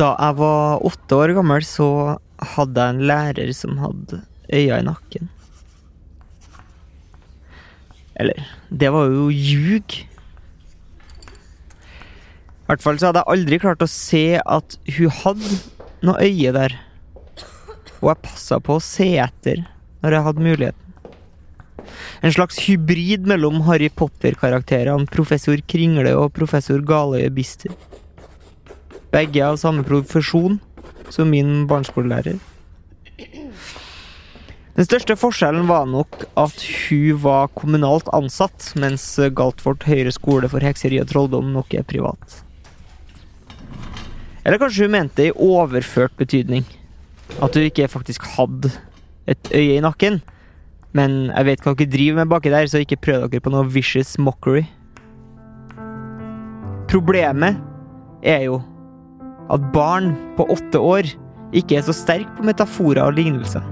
Da jeg var åtte år gammel, så hadde jeg en lærer som hadde øyne i nakken. Eller Det var jo ljug. I hvert fall så hadde jeg aldri klart å se at hun hadde noe øye der. Og jeg passa på å se etter når jeg hadde muligheten. En slags hybrid mellom Harry Potter-karakterene Professor Kringle og Professor Galøye Bister. Begge av samme profesjon som min barneskolelærer. Den største forskjellen var nok at hun var kommunalt ansatt, mens Galtvort høyere skole for hekseri og trolldom nok er privat. Eller kanskje hun mente i overført betydning. At hun ikke faktisk hadde et øye i nakken. Men jeg vet hva dere driver med baki der, så ikke prøv dere på noe vicious mockery. Problemet er jo at barn på åtte år ikke er så sterk på metaforer og lignelser.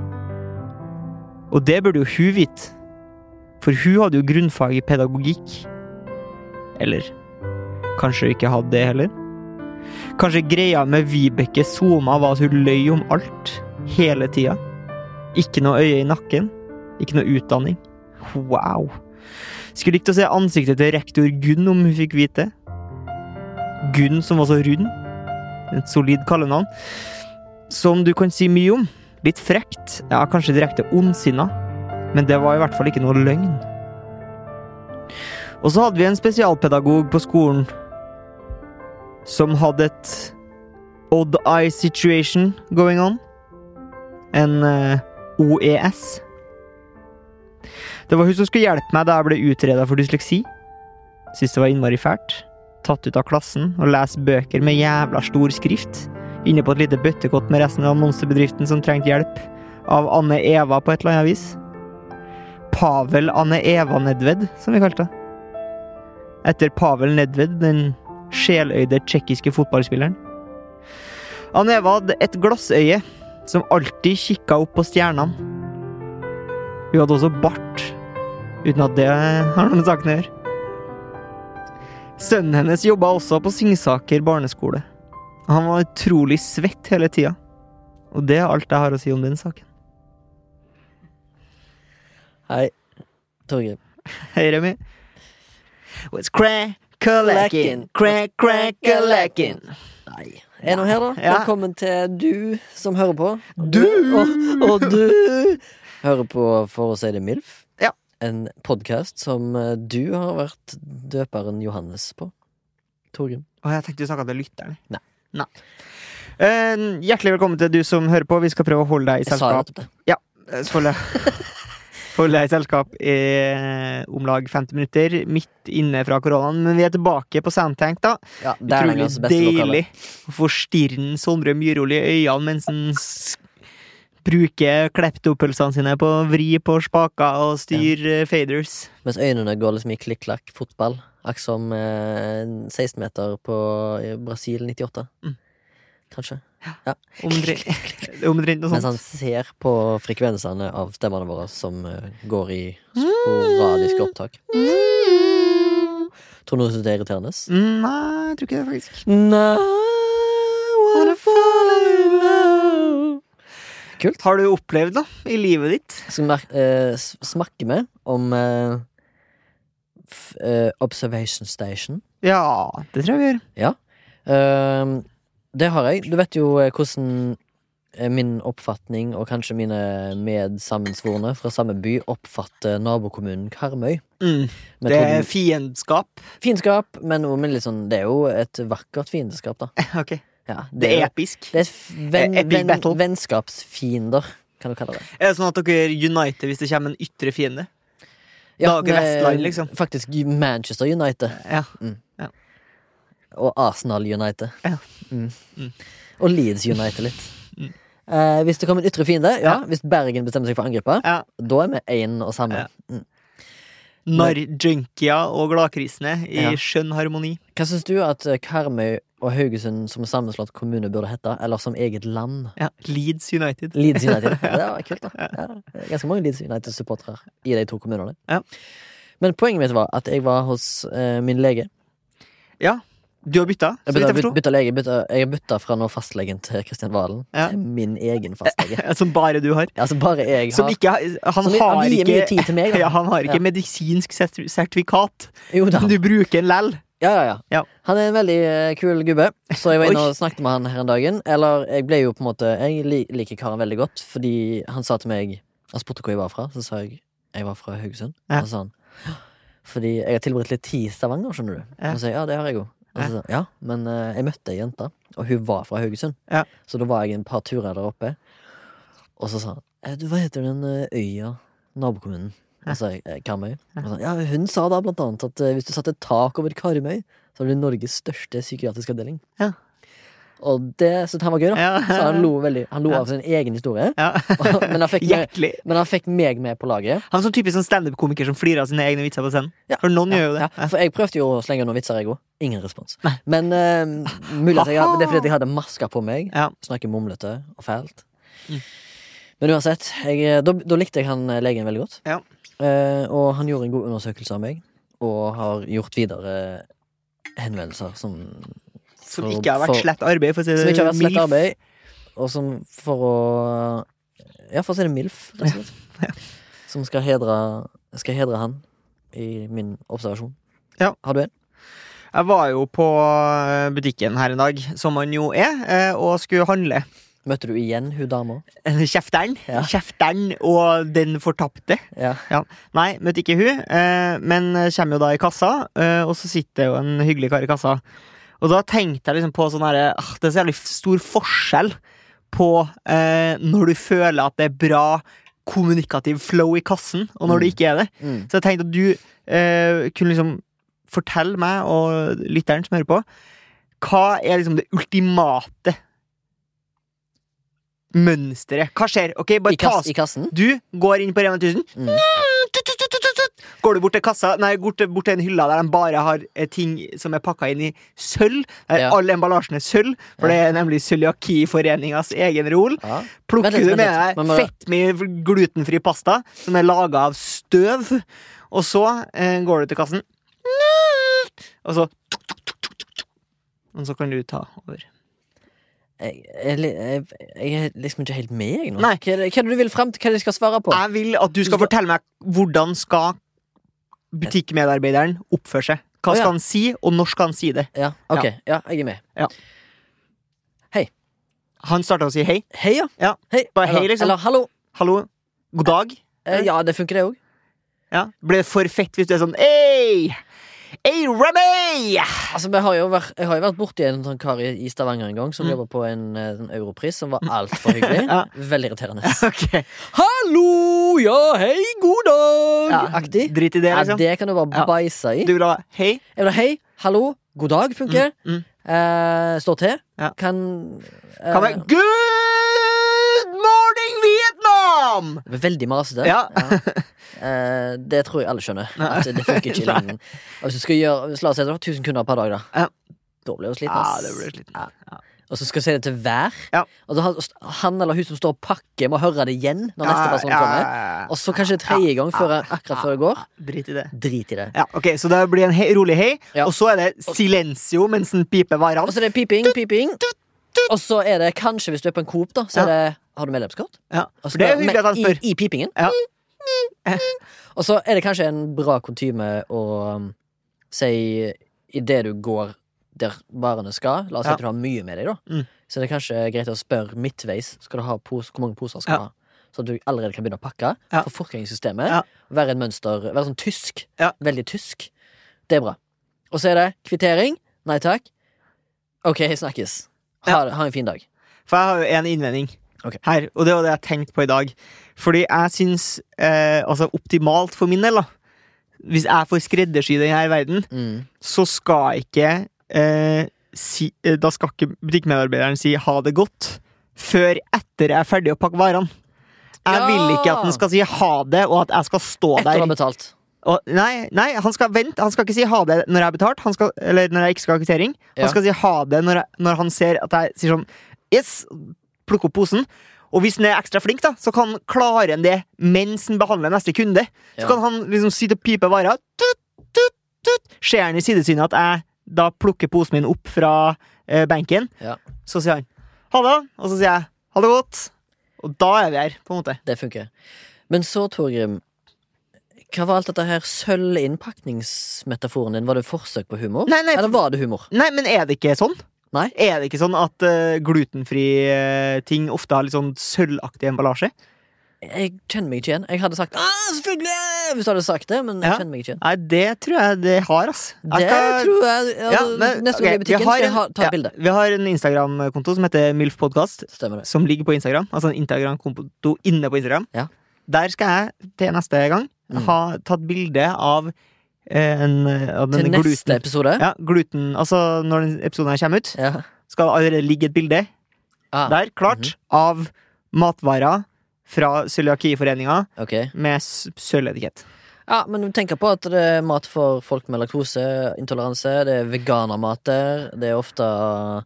Og det burde jo hun vite, for hun hadde jo grunnfag i pedagogikk. Eller kanskje hun ikke hadde det heller? Kanskje greia med Vibeke Soma var at hun løy om alt, hele tida. Ikke noe øye i nakken, ikke noe utdanning. Wow. Skulle likt å se ansiktet til rektor Gunn om hun fikk vite det. Gunn som var så rund et solid kallenavn, som du kan si mye om. Litt frekt, ja, kanskje direkte ondsinna, men det var i hvert fall ikke noe løgn. Og så hadde vi en spesialpedagog på skolen som hadde et odd eye situation going on. En eh, OES. Det var hun som skulle hjelpe meg da jeg ble utreda for dysleksi. Syntes det var innmari fælt tatt ut av klassen og lese bøker med jævla stor skrift, inne på et lite bøttekott med resten av monsterbedriften som trengte hjelp, av Anne Eva på et eller annet vis. Pavel Anne Eva Nedved, som vi kalte det. Etter Pavel Nedved, den sjeløyde tsjekkiske fotballspilleren. Anne Eva hadde et glassøye som alltid kikka opp på stjernene. Hun hadde også bart, uten at det har noe med saken å gjøre. Sønnen hennes jobba også på Singsaker barneskole. Han var utrolig svett hele tida. Og det er alt jeg har å si om den saken. Hei, Torgeir. Hei, Remi. It's crack collecting, crack crack collecting. Nei. Er nå her, da. Ja. Velkommen til du som hører på. Og Du! og, og du hører på For å si det MILF. Ja. En podkast som eh, du har vært døperen Johannes på. Torgrim. Å, jeg tenkte du snakka til lytteren. Nei. Nei. Eh, hjertelig velkommen til du som hører på. Vi skal prøve å holde deg i Jeg sa selskap. nettopp det. Eh, så Holde holde deg i selskap i eh, om lag 50 minutter, midt inne fra koronaen. Men vi er tilbake på Soundtank, da. Ja, det er Utrolig Langas beste lokale. deilig å få stirren Sondre Myrhol i øynene mens han s- bruker kleptopølsene sine på å vri på spaker og styre eh, faders. Mens øynene går liksom i klikk-klakk fotball. Akkurat som eh, 16-meter på i Brasil 98. Mm. Kanskje. Omtrent omtrent noe Mens sånt. han ser på frekvensene av stemmene våre som eh, går i sporadiske opptak. Tror du noen synes det er irriterende? Mm, Nei, jeg tror ikke det, faktisk. Kult. Har du opplevd noe i livet ditt? Skal vi mer- eh, s- snakke med om eh, f, eh, Observation Station? Ja, det tror jeg vi gjør. Ehm, det har jeg. Du vet jo eh, hvordan eh, min oppfatning, og kanskje mine medsammensvorne fra samme by, oppfatter nabokommunen Karmøy. Mm. Men Det tror er du- fiendskap. Fiendskap, men også med litt sånn, det er jo et vakkert fiendskap, da. Ok, Ja, det, Eh, Det er, er episk. det er f- venn, Epic venn, battle. vennskapsfiender, kan du kalle det. Er det sånn at dere uniter hvis det kommer en ytre fiende? Dagen med- Vestland, liksom. Faktisk Manchester United. Ja. Mm. ja. Og Arsenal United. Ja. Mm. Mm. Og Leeds United litt. Mm. Eh, hvis det kommer en ytre fiende, ja, Ja. hvis Bergen bestemmer seg for å angripe, Ja. da er vi én og samme. Ja. Mm. Når junkia og gladkristne i Ja. skjønn harmoni. Hva syns du at eh, Karmøy og Haugesund som sammenslått kommune burde hete? Eller som eget land? Ja. Leeds United. Leeds United. Ja, det var kult, da. Ja, det er ganske mange Leeds United-supportere i de to kommunene. Ja. Men poenget mitt var at jeg var hos eh, min lege. Du har bytta, Jeg så vidt bytta, jeg forsto. bytta lege, bytta, jeg bytta fra nå fastlegen til Kristian Valen Ja. til min egen fastlege. Ja, Som bare du har. Altså bare jeg Som har ikke har- Han Som har gir mye ikke tid til meg, da. ja, Han har Ja. ikke medisinsk sertif- sertifikat, Jo da. men du bruker en lell. Ja, ja, ja. Ja. Han er en veldig eh, kul gubbe, så jeg var inne Oi. og snakket med han her en dagen. Eller jeg ble jo på en måte Jeg li- liker karen veldig godt, fordi han sa til meg Han spurte hvor jeg var fra, så sa jeg jeg var fra Haugesund. Ja. Og så sa han «Ja, fordi jeg har tilbrakt litt tid i Stavanger, skjønner du. Ja. Og så sa jeg ja, det har jeg jo. Og så sa han, ja, men eh, jeg møtte ei jente, og hun var fra Haugesund. Ja. Så da var jeg en par turer der oppe, og så sa han «Eh, du, hva heter den eh, øya, nabokommunen? Og så sa jeg, eh, Karmøy. Og så, ja, hun sa da blant annet at eh, hvis du satte et tak over Karmøy, så ble det Norges største psykiatriske avdeling. Ja. Og det syntes han var gøy, da. Ja. Så han lo, veldig, han lo av sin egen historie. Ja. men, han fikk meg, Hjertelig. men han fikk meg med på laget. Han er sånn typisk sånn standup-komiker som flirer av sine egne vitser på scenen. Ja. For noen gjør jo det. Ja, for jeg prøvde jo å slenge noen vitser, jeg òg. Ingen respons. Men eh, mulig at jeg, hadde- det er fordi at jeg hadde maska på meg. Ja. Snakker mumlete og fælt. Mm. Men uansett, jeg, da, da likte jeg han eh, legen veldig godt. Ja. Eh, og han gjorde en god undersøkelse av meg, og har gjort videre eh, henvendelser som Som For- ikke har vært for- slett arbeid, for å si det Som ikke har vært slett mildt. arbeid, og som for å Ja, for å si det MILF, rett og slett. Som skal hedre, skal hedre han i min observasjon. Ja. Har du en? Jeg var jo på eh, butikken her en dag, som man jo er, eh, og skulle handle. Møtte du igjen hun dama? Kjefteren. Ja. Kjefteren og den fortapte. Ja. Nei, møtte ikke hun, eh, men kommer jo da i kassa, eh, og så sitter jo en hyggelig kar i kassa. Og da tenkte jeg liksom på sånn herre ah, Det er så jævlig stor forskjell på eh, når du føler at det er bra kommunikativ flow i kassen, og når det ikke er det. Mm. Så jeg tenkte at du eh, kunne liksom fortelle meg og lytteren som hører på, hva er liksom det ultimate mønsteret? Hva skjer? Ok, I, bare ta kass, oss I kassen? Du går inn på Rema 1000. Mm. Går du bort til kassa Nei, bort til, bort til en hylla der de bare har eh, ting som er pakka inn i sølv. Der Ja. all emballasjen er sølv, for det er nemlig cøliakiforeningas egen rol. Ja. Vent Plukker litt, du vent med litt. deg Man må- fett med glutenfri pasta som er laga av støv, og så eh, går du til kassen, og så Og så kan du ta over. Jeg, jeg, li- jeg, jeg er liksom ikke helt med, jeg nå. Nei. Hva, er det, hva er det du vil frem til? Hva er det jeg skal svare på? Jeg vil at du Du skal skal- fortelle meg hvordan skal butikkmedarbeideren oppføre seg. Hva Å, ja. skal han si, og når skal han si det? Ja, ok, ja, jeg er med. Han starta å si hei. Hei, ja. Ja, Hei. bare hei, eller, liksom. eller hallo. Hallo. God dag. Eh, ja, det funker, det òg. Ja. Blir det for fett hvis du er sånn Ei! Ei, Remy! Altså, vi har jo vært, jeg har jo vært borti en sånn kar i, i Stavanger en gang som jobba på en, eh, sånn europris som var altfor hyggelig. Mm. Ja. Veldig irriterende. Ok. Hallo, ja, hei, god dag! Ja, Aktig. Drit i det, Ja, liksom. det kan du bare Ja. bæsje i. Du vil ha hei? Er det hei, hallo, god dag funker? Mm, mm. Eh, Står til. Ja. Kan eh, Kan være Good morning, Vietnam! det er Veldig masete. Ja. Eh, det tror jeg alle skjønner. At det funker ikke i Nei. lengden. Og Hvis du skal gjøre hvis La oss si du har 1000 kunder per dag, da. Ja. Da blir du sliten. Ja, ass. det blir sliten. Ja. Ja. Og så skal du si det til hver. Ja. Og så han, han eller hun som står og pakker, må høre det igjen når neste person Ja, ja, kommer. ja, ja. Og så kanskje tredje gang før, akkurat før det går. Drit i det. Drit i det. Ja, ok, Så det blir en hei, rolig hei, Ja. og så er det silencio mens den piper Og varene. så er det piping, piping. Og så er det kanskje, hvis du er på en Coop, da, så er det Har du medlemskort? Ja. Og så For det Altså, da- er jo hyggelig at han men spør. I, i pipingen. Ja. Og så er det kanskje en bra kutyme å um, si idet du går der varene skal La oss si Ja. at du har mye med deg, da. Mm. Så det er kanskje greit å spørre midtveis Skal du ha pos, hvor mange poser skal Ja. du ha. Så at du allerede kan begynne å pakke. Ja. For fortgangssystemet. Ja. Være en mønster Være sånn tysk. Ja. Veldig tysk. Det er bra. Og så er det kvittering. Nei takk. Ok, snakkes. Ha, ha en fin dag. For jeg har jo en innvending Ok. her, og det var det jeg tenkte på i dag. Fordi jeg syns eh, Altså, optimalt for min del, da. Hvis jeg får skreddersy den her verden, Mm. så skal ikke eh, si, eh, Da skal ikke butikkmedarbeideren si 'ha det godt' før etter jeg er ferdig å pakke varene. Jeg Ja! vil ikke at han skal si 'ha det', og at jeg skal stå Etter å der. ha betalt. Og, nei, nei, han skal vente. Han skal ikke si 'ha det' når jeg har betalt, han skal, eller når jeg ikke skal ha kvittering. Han Ja. skal si 'ha det' når, jeg, når han ser at jeg sier sånn 'yes', plukke opp posen. Og hvis han er ekstra flink, da, så kan klarer han det mens han behandler neste kunde. Så Ja. kan han liksom sitte og pipe varer. Tut, tut, tut. Ser han i sidesynet at jeg da plukker posen min opp fra eh, benken, Ja. så sier han 'ha det', og så sier jeg 'ha det godt'. Og da er vi her, på en måte. Det funker. Men så, Torgrim, hva var alt dette her sølvinnpakningsmetaforen din? Var det forsøk på humor? Nei, nei, Eller var det humor? Nei, men er det ikke sånn? Nei. Er det ikke sånn at eh, glutenfri eh, ting ofte har litt sånn sølvaktig emballasje? Jeg kjenner meg ikke igjen. Jeg hadde sagt ah, selvfølgelig! hvis du hadde sagt det, men Ja. jeg kjenner meg ikke igjen. Nei, det tror jeg det har, ass. Det Jeg skal- tror jeg ja, Ja, men, Neste gang jeg er i ok, vi butikken, har skal jeg en- ha, ta ja, et bilde. Vi har en Instagram-konto som heter MILF Podcast, Stemmer det. som ligger på Instagram. Altså en Instagram-konto inne på Instagram. Ja. Der skal jeg til neste gang Mm. ha tatt bilde av eh, en av Til den neste gluten... episode. Ja, gluten Altså, når den episoden her kommer ut, Ja. skal det allerede ligge et bilde Ah, der, klart, av matvarer fra cøliakiforeninga ok. med s- sølvetikett. ja, men tenk på at det er mat for folk med laktoseintoleranse. Det er veganermat der. Det er ofte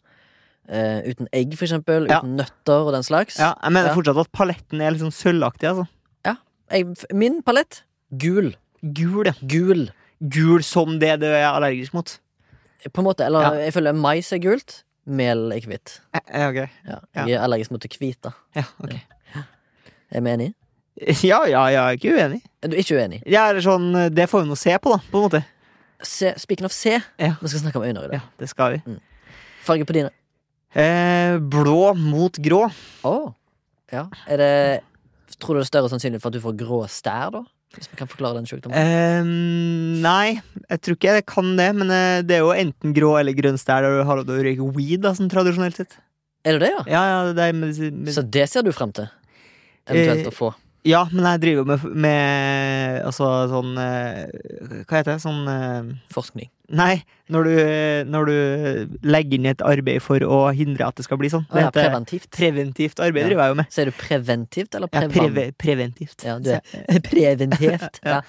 eh, uten egg, for eksempel. Ja. Uten nøtter og den slags. Ja, jeg mener Ja. fortsatt at paletten er litt sånn sølvaktig, altså. jeg, f- Min palett gul. Gul, ja. Gul, Gul som det du er allergisk mot. på en måte. Eller Ja. jeg føler mais er gult, mel er hvitt. Eh, eh, Ok. Ja. Jeg er allergisk mot det hvite. Ja, ok. Er vi enig? Ja, ja, jeg er ikke uenig. Er du ikke uenig? Jeg er sånn, det får vi nå se på, da, på en måte. Se, speaking of C, Ja. vi skal snakke om øyne i dag. Ja, det skal vi. Farge på dine. Eh, blå mot grå. Å, ja. Er det Tror du det er større sannsynlig for at du får grå stær, da? Hvis vi kan forklare den sykdommen. Eh, nei, jeg tror ikke jeg kan det, men eh, det er jo enten grå eller grønn stær der du har lov til å røyke weed, da, sånn tradisjonelt sett. Er det det, ja? Ja, ja, det er medisin... Så det ser du frem til? Eventuelt Eh, å få. Ja, men jeg driver jo med, med Altså sånn eh, Hva heter det? Sånn eh, Forskning. Nei, når du, når du legger inn et arbeid for å hindre at det skal bli sånn. Å, Det ja, heter preventivt. preventivt arbeid, Ja. driver jeg jo med. Sier du preventivt eller Ja, prevan? preve, preventivt. Ja, du er preventivt. Ja.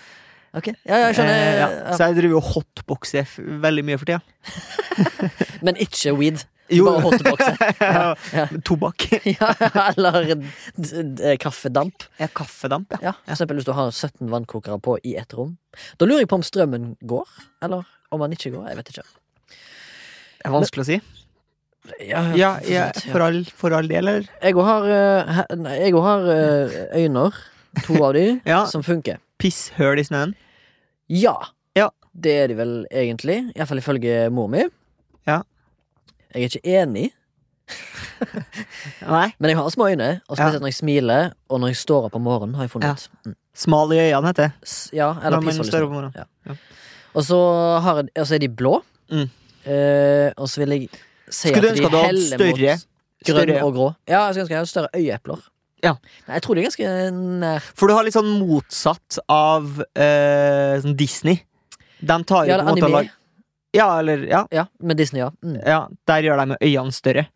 Ok. Ja, ja, jeg Så, jeg- eh, skjønner. ja. Ja. Så jeg driver jo hotboxer f- veldig mye for tida. Men ikke weed. Jo. Bare hotboxe. Ja, ja. Tobakk. Ja, eller d- d- kaffedamp. Ja, kaffedamp, Ja, ja. for eksempel hvis du har 17 vannkokere på i ett rom. Da lurer jeg på om strømmen går, eller om den ikke går. Jeg vet ikke. Det er vanskelig å si. Ja, Ja, for så ja vidt, ja. for, all, for all del, eller? Jeg òg har, eh, he- nei, jeg også har eh, øyner, to av de, Ja. som funker. Pisshøl i snøen. Ja, Ja. Det er de vel egentlig. Iallfall ifølge mor mi. Ja. Jeg er ikke enig, Nei. men jeg har små øyne. Og spesielt Ja. når jeg smiler, og når jeg står opp om morgenen, har jeg Ja. funnet ut. Mm. Smal i øynene, heter det. S- Ja, eller Når man pisshål. står liksom. opp om morgenen. Og så, har, jeg- og så er de blå. Mm. Eh, og så vil jeg si Skulle du at de ønske at du hadde heller større- mot grønn Større- og grå. Ja, jeg skulle ønske jeg hadde større øyeepler. Ja. Nei, jeg tror de er ganske nær. For du har litt sånn motsatt av eh, sånn Disney. De tar jo Ja, på en måte og anime. lag- Eh, Ja, eller ja, Ja, med Disney, ja. Mm. ja. Der gjør de øynene større.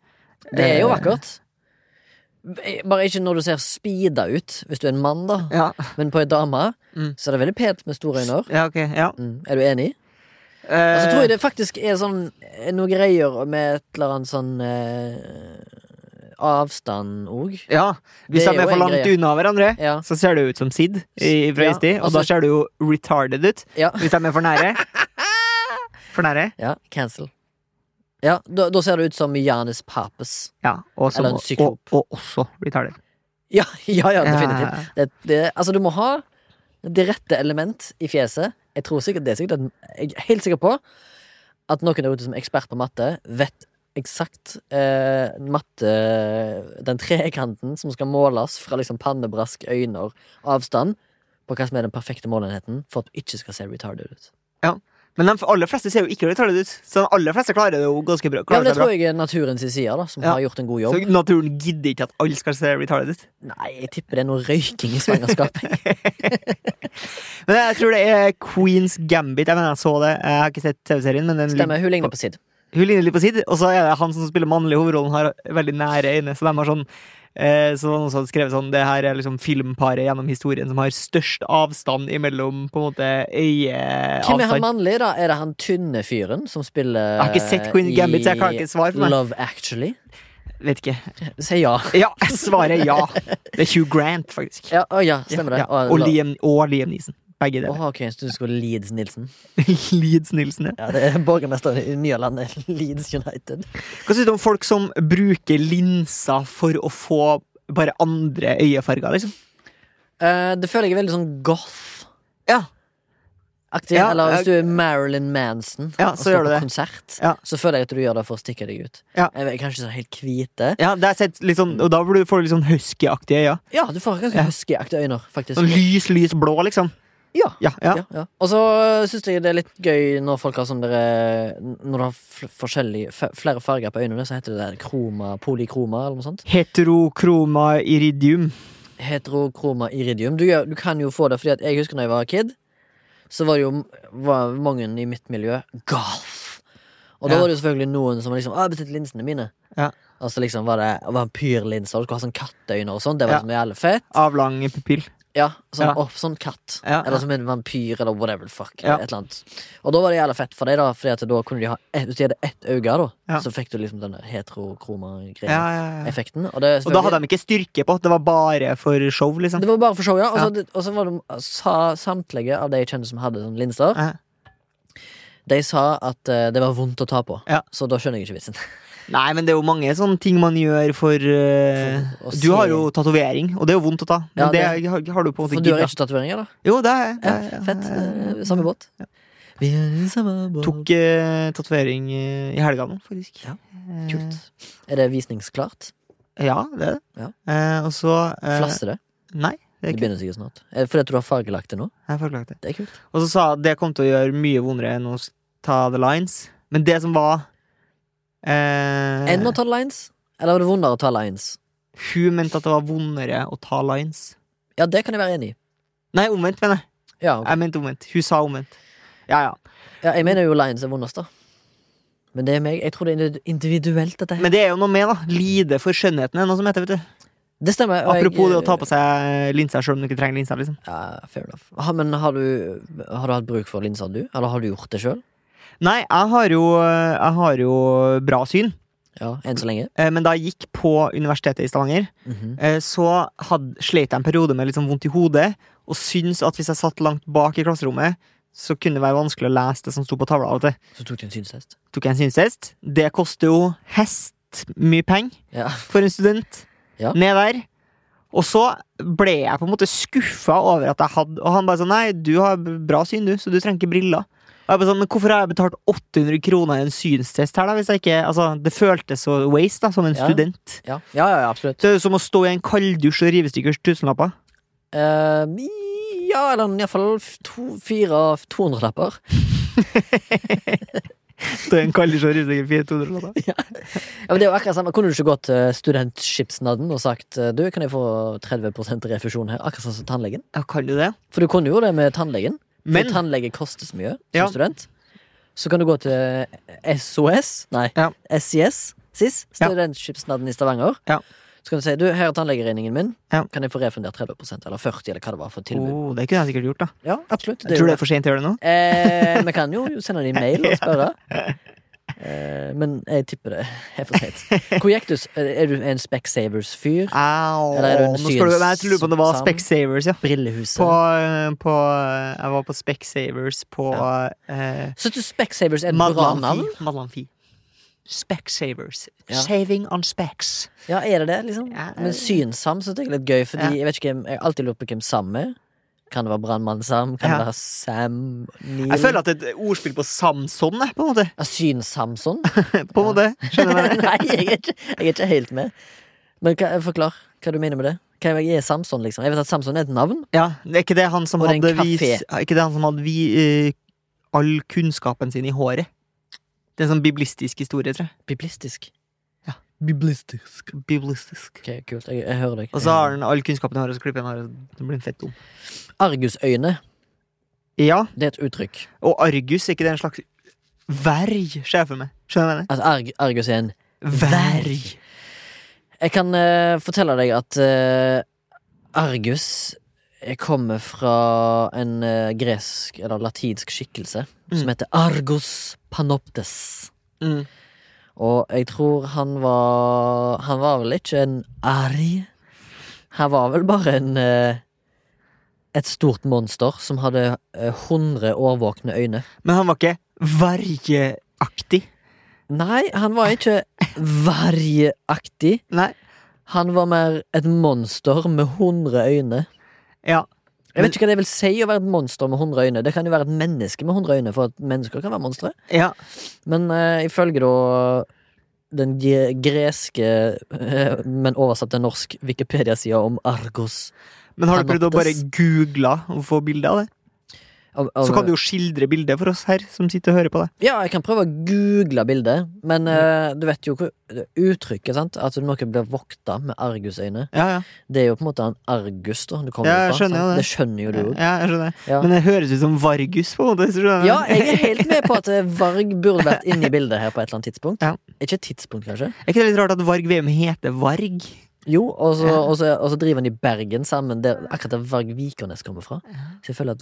Det er jo Eh, vakkert. Eh, Bare ikke når du ser speeda ut, hvis du er en mann, da. Ja, Men på ei dame Mm. så er det veldig pent med store øyne. ja ok. Ja. Mm. Er du enig? Og så Eh. tror jeg det faktisk er sånn eh, noe greier med et eller annet sånn eh, Avstand òg. Eh, ja. Hvis Det er de jo er for en langt greie. unna hverandre, Ja. så ser det ut som Sid i- fra Ja, Istid, og altså- da ser det jo retarded ut. Ja. Hvis de er for nære. For nære. Ja, cancel. Ja, da, da ser det ut som Janis Papes. Ja, og, som, Eller en og, og, psykop. og også retarded. Ja, ja, ja definitivt. Ja. Det, det, altså, du må ha det rette element i fjeset. Jeg tror sikkert det er sikkert at, Jeg er helt sikker på at noen der ute som er ekspert på matte, vet eksakt eh, matte Den trekanten som skal måles fra liksom pannebrask, øyne, avstand, på hva som er den perfekte målenheten for at du ikke skal se retarded ut. Men de aller fleste ser jo ikke retarded ut, så de aller fleste klarer det jo ganske bra. Ja, Klarer men Det seg bra. tror jeg er naturens side, da, som Ja. har gjort en god jobb. Så naturen gidder ikke at alle skal se retarded ut. Nei, jeg tipper det er noe røyking i svangerskapet. Men jeg tror det er Queens Gambit. Jeg mener jeg så det. Jeg har ikke sett TV-serien, men den Stemmer, hun ligner på Sid. Hun ligner litt på Sid, og så er det han som spiller mannlig hovedrollen, har veldig nære øyne. Så de har sånn eh, Så var det noen som hadde skrevet sånn Det her er liksom filmparet gjennom historien som har størst avstand imellom på en måte Hvem er han øyeavstand. mannlig, da? Er det han tynne fyren som spiller eh, Jeg har ikke sett Queen Gambit, så jeg kan i ikke svare for meg. Love Actually? Vet ikke. Si ja. Ja, jeg svarer ja. Det er Hugh Grant, faktisk. Ja, å, ja stemmer det. Ja, Og Liam, og Liam Neeson. Begge Å, deler. ok, så du skulle Leeds Nilsen. Leeds Nilsen, ja. Ja, det er borgermesteren i Nyland, Leeds United. Hva syns du om folk som bruker linser for å få bare andre øyefarger, liksom? Eh, det føler jeg er veldig sånn goth-aktig. Ja. Ja, eller hvis jeg- du er Marilyn Manson Ja, og så skal gjør du på det. konsert, Ja. så føler jeg at du gjør det for å stikke deg ut. Ja. Jeg vet, kanskje sånn helt hvite. Ja, det er sett litt sånn, og da blir du- får du litt sånn husky-aktige øyne. Ja, du får ganske Ja. husky-aktige øyne, faktisk. Sånn lys, lys blå, liksom. Ja. Ja, ja. Ja, ja. Og så syns jeg det er litt gøy når folk har sånn dere Når du har fl- forskjellige- f- flere farger på øynene, så heter det der kroma, polykroma eller noe sånt. Heterokroma iridium. Heterokroma iridium. Du, gjør- du kan jo få det fordi at jeg husker når jeg var kid, så var det jo m- var mange i mitt miljø goth. Og da Ja. var det jo selvfølgelig noen som var liksom Å, jeg bestilte linsene mine. Ja. Og så liksom var det vampyrlinser, og du skulle ha sånn katteøyne og sånn. Det var Ja. liksom jævlig fett. Avlang pupill. Ja, sånn, Ja. opp, sånn katt. Ja, ja. Eller som en vampyr, eller whatever. the Fuck, Ja. et eller annet. Og da var det jævla fett for deg, da. Fordi at da kunne de ha ett, Hvis de hadde ett øye, da, Ja. så fikk du liksom denne heterokroma-greia. Ja, ja, ja. Effekten. Og, det, Og da hadde de ikke styrke på, det var bare for show, liksom. det var bare for show, ja. Og så, og så var det, sa samtlige av de jeg kjenner som hadde sånn linser, Ja. de sa at eh, det var vondt å ta på. Ja. Så da skjønner jeg ikke vitsen. Nei, men det er jo mange sånne ting man gjør for eh, For å Du se- har jo tatovering, og det er jo vondt å ta. Men Ja, det- det har- har du på en For måte du har gidda. ikke tatoveringer, da? Jo, det er det Ja, er- fett. jeg eh, Samme båt. Vi er i samme båt. Tok eh, tatovering eh, i helga nå, faktisk. Ja, Eh, Kult. Er det visningsklart? Ja, det er det. Ja. Eh, og så eh, Flasser det? Nei, det er Det ikke begynner sikkert snart. Er det Fordi at du har fargelagt det nå? jeg har forklart det. Det er kult. Og så sa jeg at det kom til å gjøre mye vondere enn å ta The Lines. Men det som var eh, Enn å ta lines? Eller var det vondere å ta lines? Hun mente at det var vondere å ta Lines. Ja, det kan jeg være enig i. Nei, omvendt, mener jeg. Ja, ok. Jeg mente omvendt. Hun sa omvendt. Ja, ja. ja, jeg mener jo lines er vondest, da. Men det er meg. Jeg tror det er individuelt, dette her. Men det er jo noe med, da. Lide for skjønnheten er noe som heter, vet du. Det stemmer. og jeg- Apropos det å ta på seg linser sjøl om du ikke trenger linser, liksom. Ja, fair enough. Ha, men har du, har du hatt bruk for linser, du? Eller har du gjort det sjøl? Nei, jeg har jo, eh, jeg har jo bra syn. Ja, enn så lenge? Eh, Men da jeg gikk på universitetet i Stavanger, Mhm. eh, så had, slet jeg en periode med litt sånn vondt i hodet, og syntes at hvis jeg satt langt bak i klasserommet, så kunne det være vanskelig å lese det som sto på tavla. av og til. Så tok du en synstest. Tok jeg en synstest. Det koster jo hest mye penger Ja. for en student. Ja. Ned der. Og så ble jeg på en måte skuffa over at jeg hadde Og han bare sånn Nei, du har bra syn, du, så du trenger ikke briller. Og jeg bare sånn, Men hvorfor har jeg betalt 800 kroner i en synstest her, da? Hvis jeg ikke Altså, det føltes så waste, da, som en Ja. student. Ja, ja, ja, ja absolutt. Det er jo som å stå i en kalddusj og rive stykkers tusenlapper. Eh, ja, eller iallfall to, fire av 200-lapper. Stå i en kalddusj og rive stykker 400 lapper. Ja, men det er jo akkurat samme. Kunne du ikke gått til studentskipsnaden og sagt eh, du, kan jeg få 30 refusjon her? Akkurat sånn som tannlegen. Ja, kan du det? For du kunne jo det med tannlegen. For Men- tannlege koster så mye som Ja. student. Så kan du gå til eh, SOS, nei, Ja. SIS, SIS, Ja. Studentskipsnaden i Stavanger. Ja. Så kan du si du, her er tannlegeregningen min, Ja. kan jeg få refundert 30 eller 40 eller hva det var for tilbud. Oh, det kunne jeg sikkert gjort, da. Ja, absolutt. Jeg er jo tror det er for sent å gjøre det nå. Eh, vi kan jo sende dem en mail og spørre. Eh, men jeg tipper det er for sent. Hvor gikk du? s- Er du en Specsavers-fyr? Au, Eller er det en nå skal du, jeg lurer på om det var synsam- Specsavers, ja. Brillehuset? På, eh, på Jeg var på Specsavers på eh, Syns du Specsavers er et bra navn? Madlanfi. Madlanfi. Specsavers. Ja. Saving on specs. Ja, er det det, liksom? Ja, Men eh. Synsam syns jeg er litt gøy, fordi Ja. jeg vet ikke hvem Jeg har alltid lurt på hvem Sam er. Kan det være Brannmann Sam? Kan Ja. det være Sam Neil? Jeg føler at det er et ordspill på Samson, jeg, på en måte. Ja, Syns-Samson? På en måte. Skjønner du hva jeg mener? Nei, jeg er, ikke, jeg er ikke helt med. Men hva, forklar hva du mener med det. Hva er Samson, liksom? Jeg vet at Samson er et navn. Ja, det er ikke det han som Og det er en hadde vis, kafé. er Ikke det han som hadde vi, eh, all kunnskapen sin i håret. Det er en sånn biblistisk historie, tror jeg. Biblistisk. Biblistisk. Biblistisk. Ok, kult. Jeg, jeg hører deg. Og så har han all kunnskapen i håret, og så klipper han håret, og så blir han fett dum. Eh, Argusøyne, Ja, det er et uttrykk. og Argus, er ikke det en slags Verg, ser jeg for meg. Skjønner du hva jeg mener? Altså, Arg Argus er en Verg. Jeg kan eh, fortelle deg at eh, Argus eh, kommer fra en eh, gresk eller latinsk skikkelse Mm. som heter Argus panoptes. Mm. Og jeg tror han var Han var vel ikke en arg. Han var vel bare en eh, Et stort monster som hadde eh, 100 årvåkne øyne. Men han var ikke vergeaktig. Nei, han var ikke vargaktig. Nei. Han var mer et monster med 100 øyne. Ja. Jeg vet ikke hva det vil si å være et monster med 100 øyne. Det kan jo være et menneske med 100 øyne, for at mennesker kan være monstre. ja. Men eh, ifølge da den ge- greske, eh, men oversatt til norsk, Wikipedia-sida om Argos Men har du prøvd å bare Panoptes. google og få bilde av det? av, av, Så kan du jo skildre bildet for oss her som sitter og hører på det. Ja, jeg kan prøve å google bildet, men eh, du vet jo hvor uttrykket, sant? At noe blir vokta med argusøyne. Ja, ja. Det er jo på en måte en argus, da. Du kommer Ja, jeg fra, skjønner sant? jo det. det skjønner jo du jo. ja jeg skjønner. Ja. Men eh, det høres ut som Vargus, på en måte. hvis du skjønner. Ja, jeg er helt med på at eh, Varg burde vært inne i bildet her på et eller annet tidspunkt. Ja. Ikke et tidspunkt, kanskje. Er ikke det litt rart at Varg Veum heter Varg? Jo, og så, Ja. og så, og så driver han i Bergen sammen, der akkurat der Varg Vikernes kommer fra. Så jeg føler at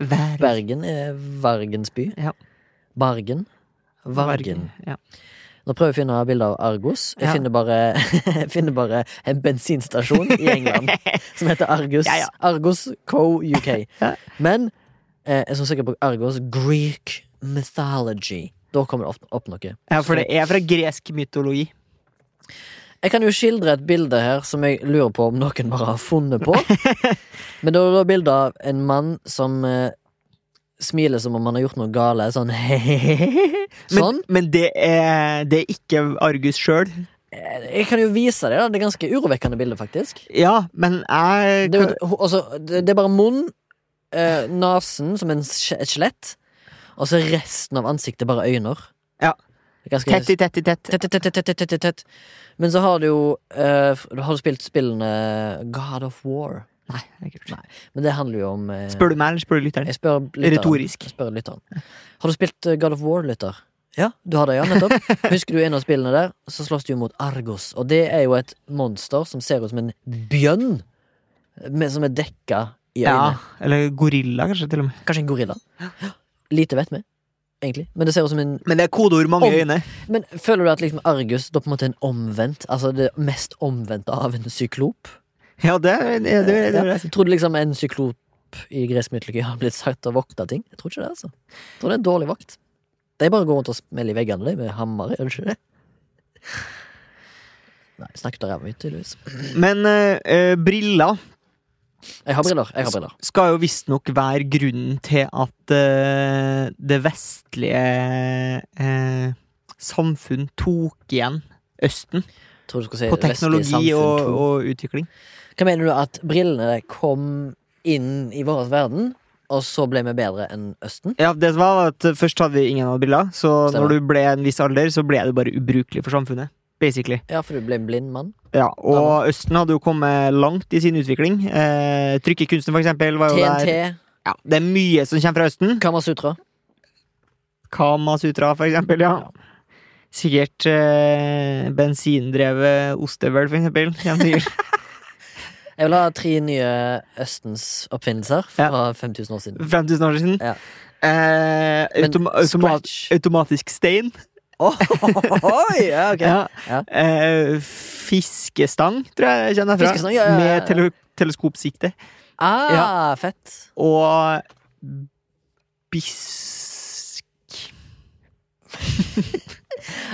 Verg. Bergen er Vargens by. Ja. Bargen. Vargen. Varg, Ja. Nå prøver jeg å finne bilde av Argos. Jeg Ja. finner, bare, jeg finner bare en bensinstasjon i England som heter Argus. Ja, ja. Argus Co. UK. Ja. Men eh, jeg er så sikker på Argos Greek mythology. Da kommer det opp, opp noe. ja, for det er fra gresk mytologi. Jeg kan jo skildre et bilde her som jeg lurer på om noen bare har funnet på. Men det er da bilde av en mann som eh, smiler som om han har gjort noe gale. Sånn Men, Sånn. men det, er, det er ikke Argus sjøl. Eh, Jeg kan jo vise deg, da. Det er ganske urovekkende bilde, faktisk. Ja, men jeg Det, er kan, jo- ho- altså, det, det er bare munn, eh, nesen som en, skje- et skjelett, og så er resten av ansiktet bare øyne. Ja. Det er ganske- Tett i tett i tett. Tett, tett, tett, tett, tett, tett, tett. Men så har du jo eh, f- Har du spilt spillene God of War? Nei, det er kult. Nei. Men det handler jo om eh, Spør du meg, eller spør du lytteren? jeg spør lytteren. Retorisk. Jeg spør lytteren. Har du spilt eh, God of War, lytter? Ja, du har det, ja, nettopp. Husker du en av spillene der, så slåss du jo mot Argos. Og det er jo et monster som ser ut som en bjønn, men som er dekka i Ja, øynene. eller gorilla, kanskje, til og med. Kanskje en gorilla. Lite vet vi, egentlig. Men det ser ut som en Men det er kodeord mange Om- øyne. Men føler du at liksom Argus da på en måte er en omvendt? Altså det mest omvendte av en syklop? Ja, det, det, det, det, det, Ja. Tror du liksom en syklop i gresk mytologi har blitt sagt å vokte ting? Jeg tror ikke det, altså. Jeg tror det er en dårlig vakt. De bare går rundt og smeller i veggene de, med hammer, gjør de ikke det? Nei, snakket av ræva mi, tydeligvis. Men eh, eh, briller Jeg har briller. jeg har briller skal jo visstnok være grunnen til at eh, det vestlige eh, samfunn tok igjen Østen Tror du skulle si på vestlig teknologi samfunn og, to. og utvikling. Hva mener du at brillene kom inn i vår verden, og så ble vi bedre enn Østen? Ja, det som var at Først hadde vi ingen av briller, så Stemmer. når du ble en viss alder, så ble du bare ubrukelig for samfunnet. Basically. Ja, for du ble en blind mann. Ja, og Østen hadde jo kommet langt i sin utvikling. Eh, trykkekunsten, for eksempel, var jo der. TNT, Ja, det er mye som kommer fra Østen. Kamasutra. Kamasutra, for eksempel. Ja. Sikkert eh, bensindrevet ostehøvel, for eksempel. Kjenner sikkert. Jeg vil ha tre nye Østens oppfinnelser fra 5000 år siden. 5000 år siden. Ja. Eh, Men autom automat scratch. automatisk stein. Oh, ja, ok. Ja. Ja. Eh, fiskestang, tror jeg jeg kjenner fra. Fiskestang, ja, ja, ja, ja. Med tele teleskopsikte. Ah, Ja. fett. Og bisk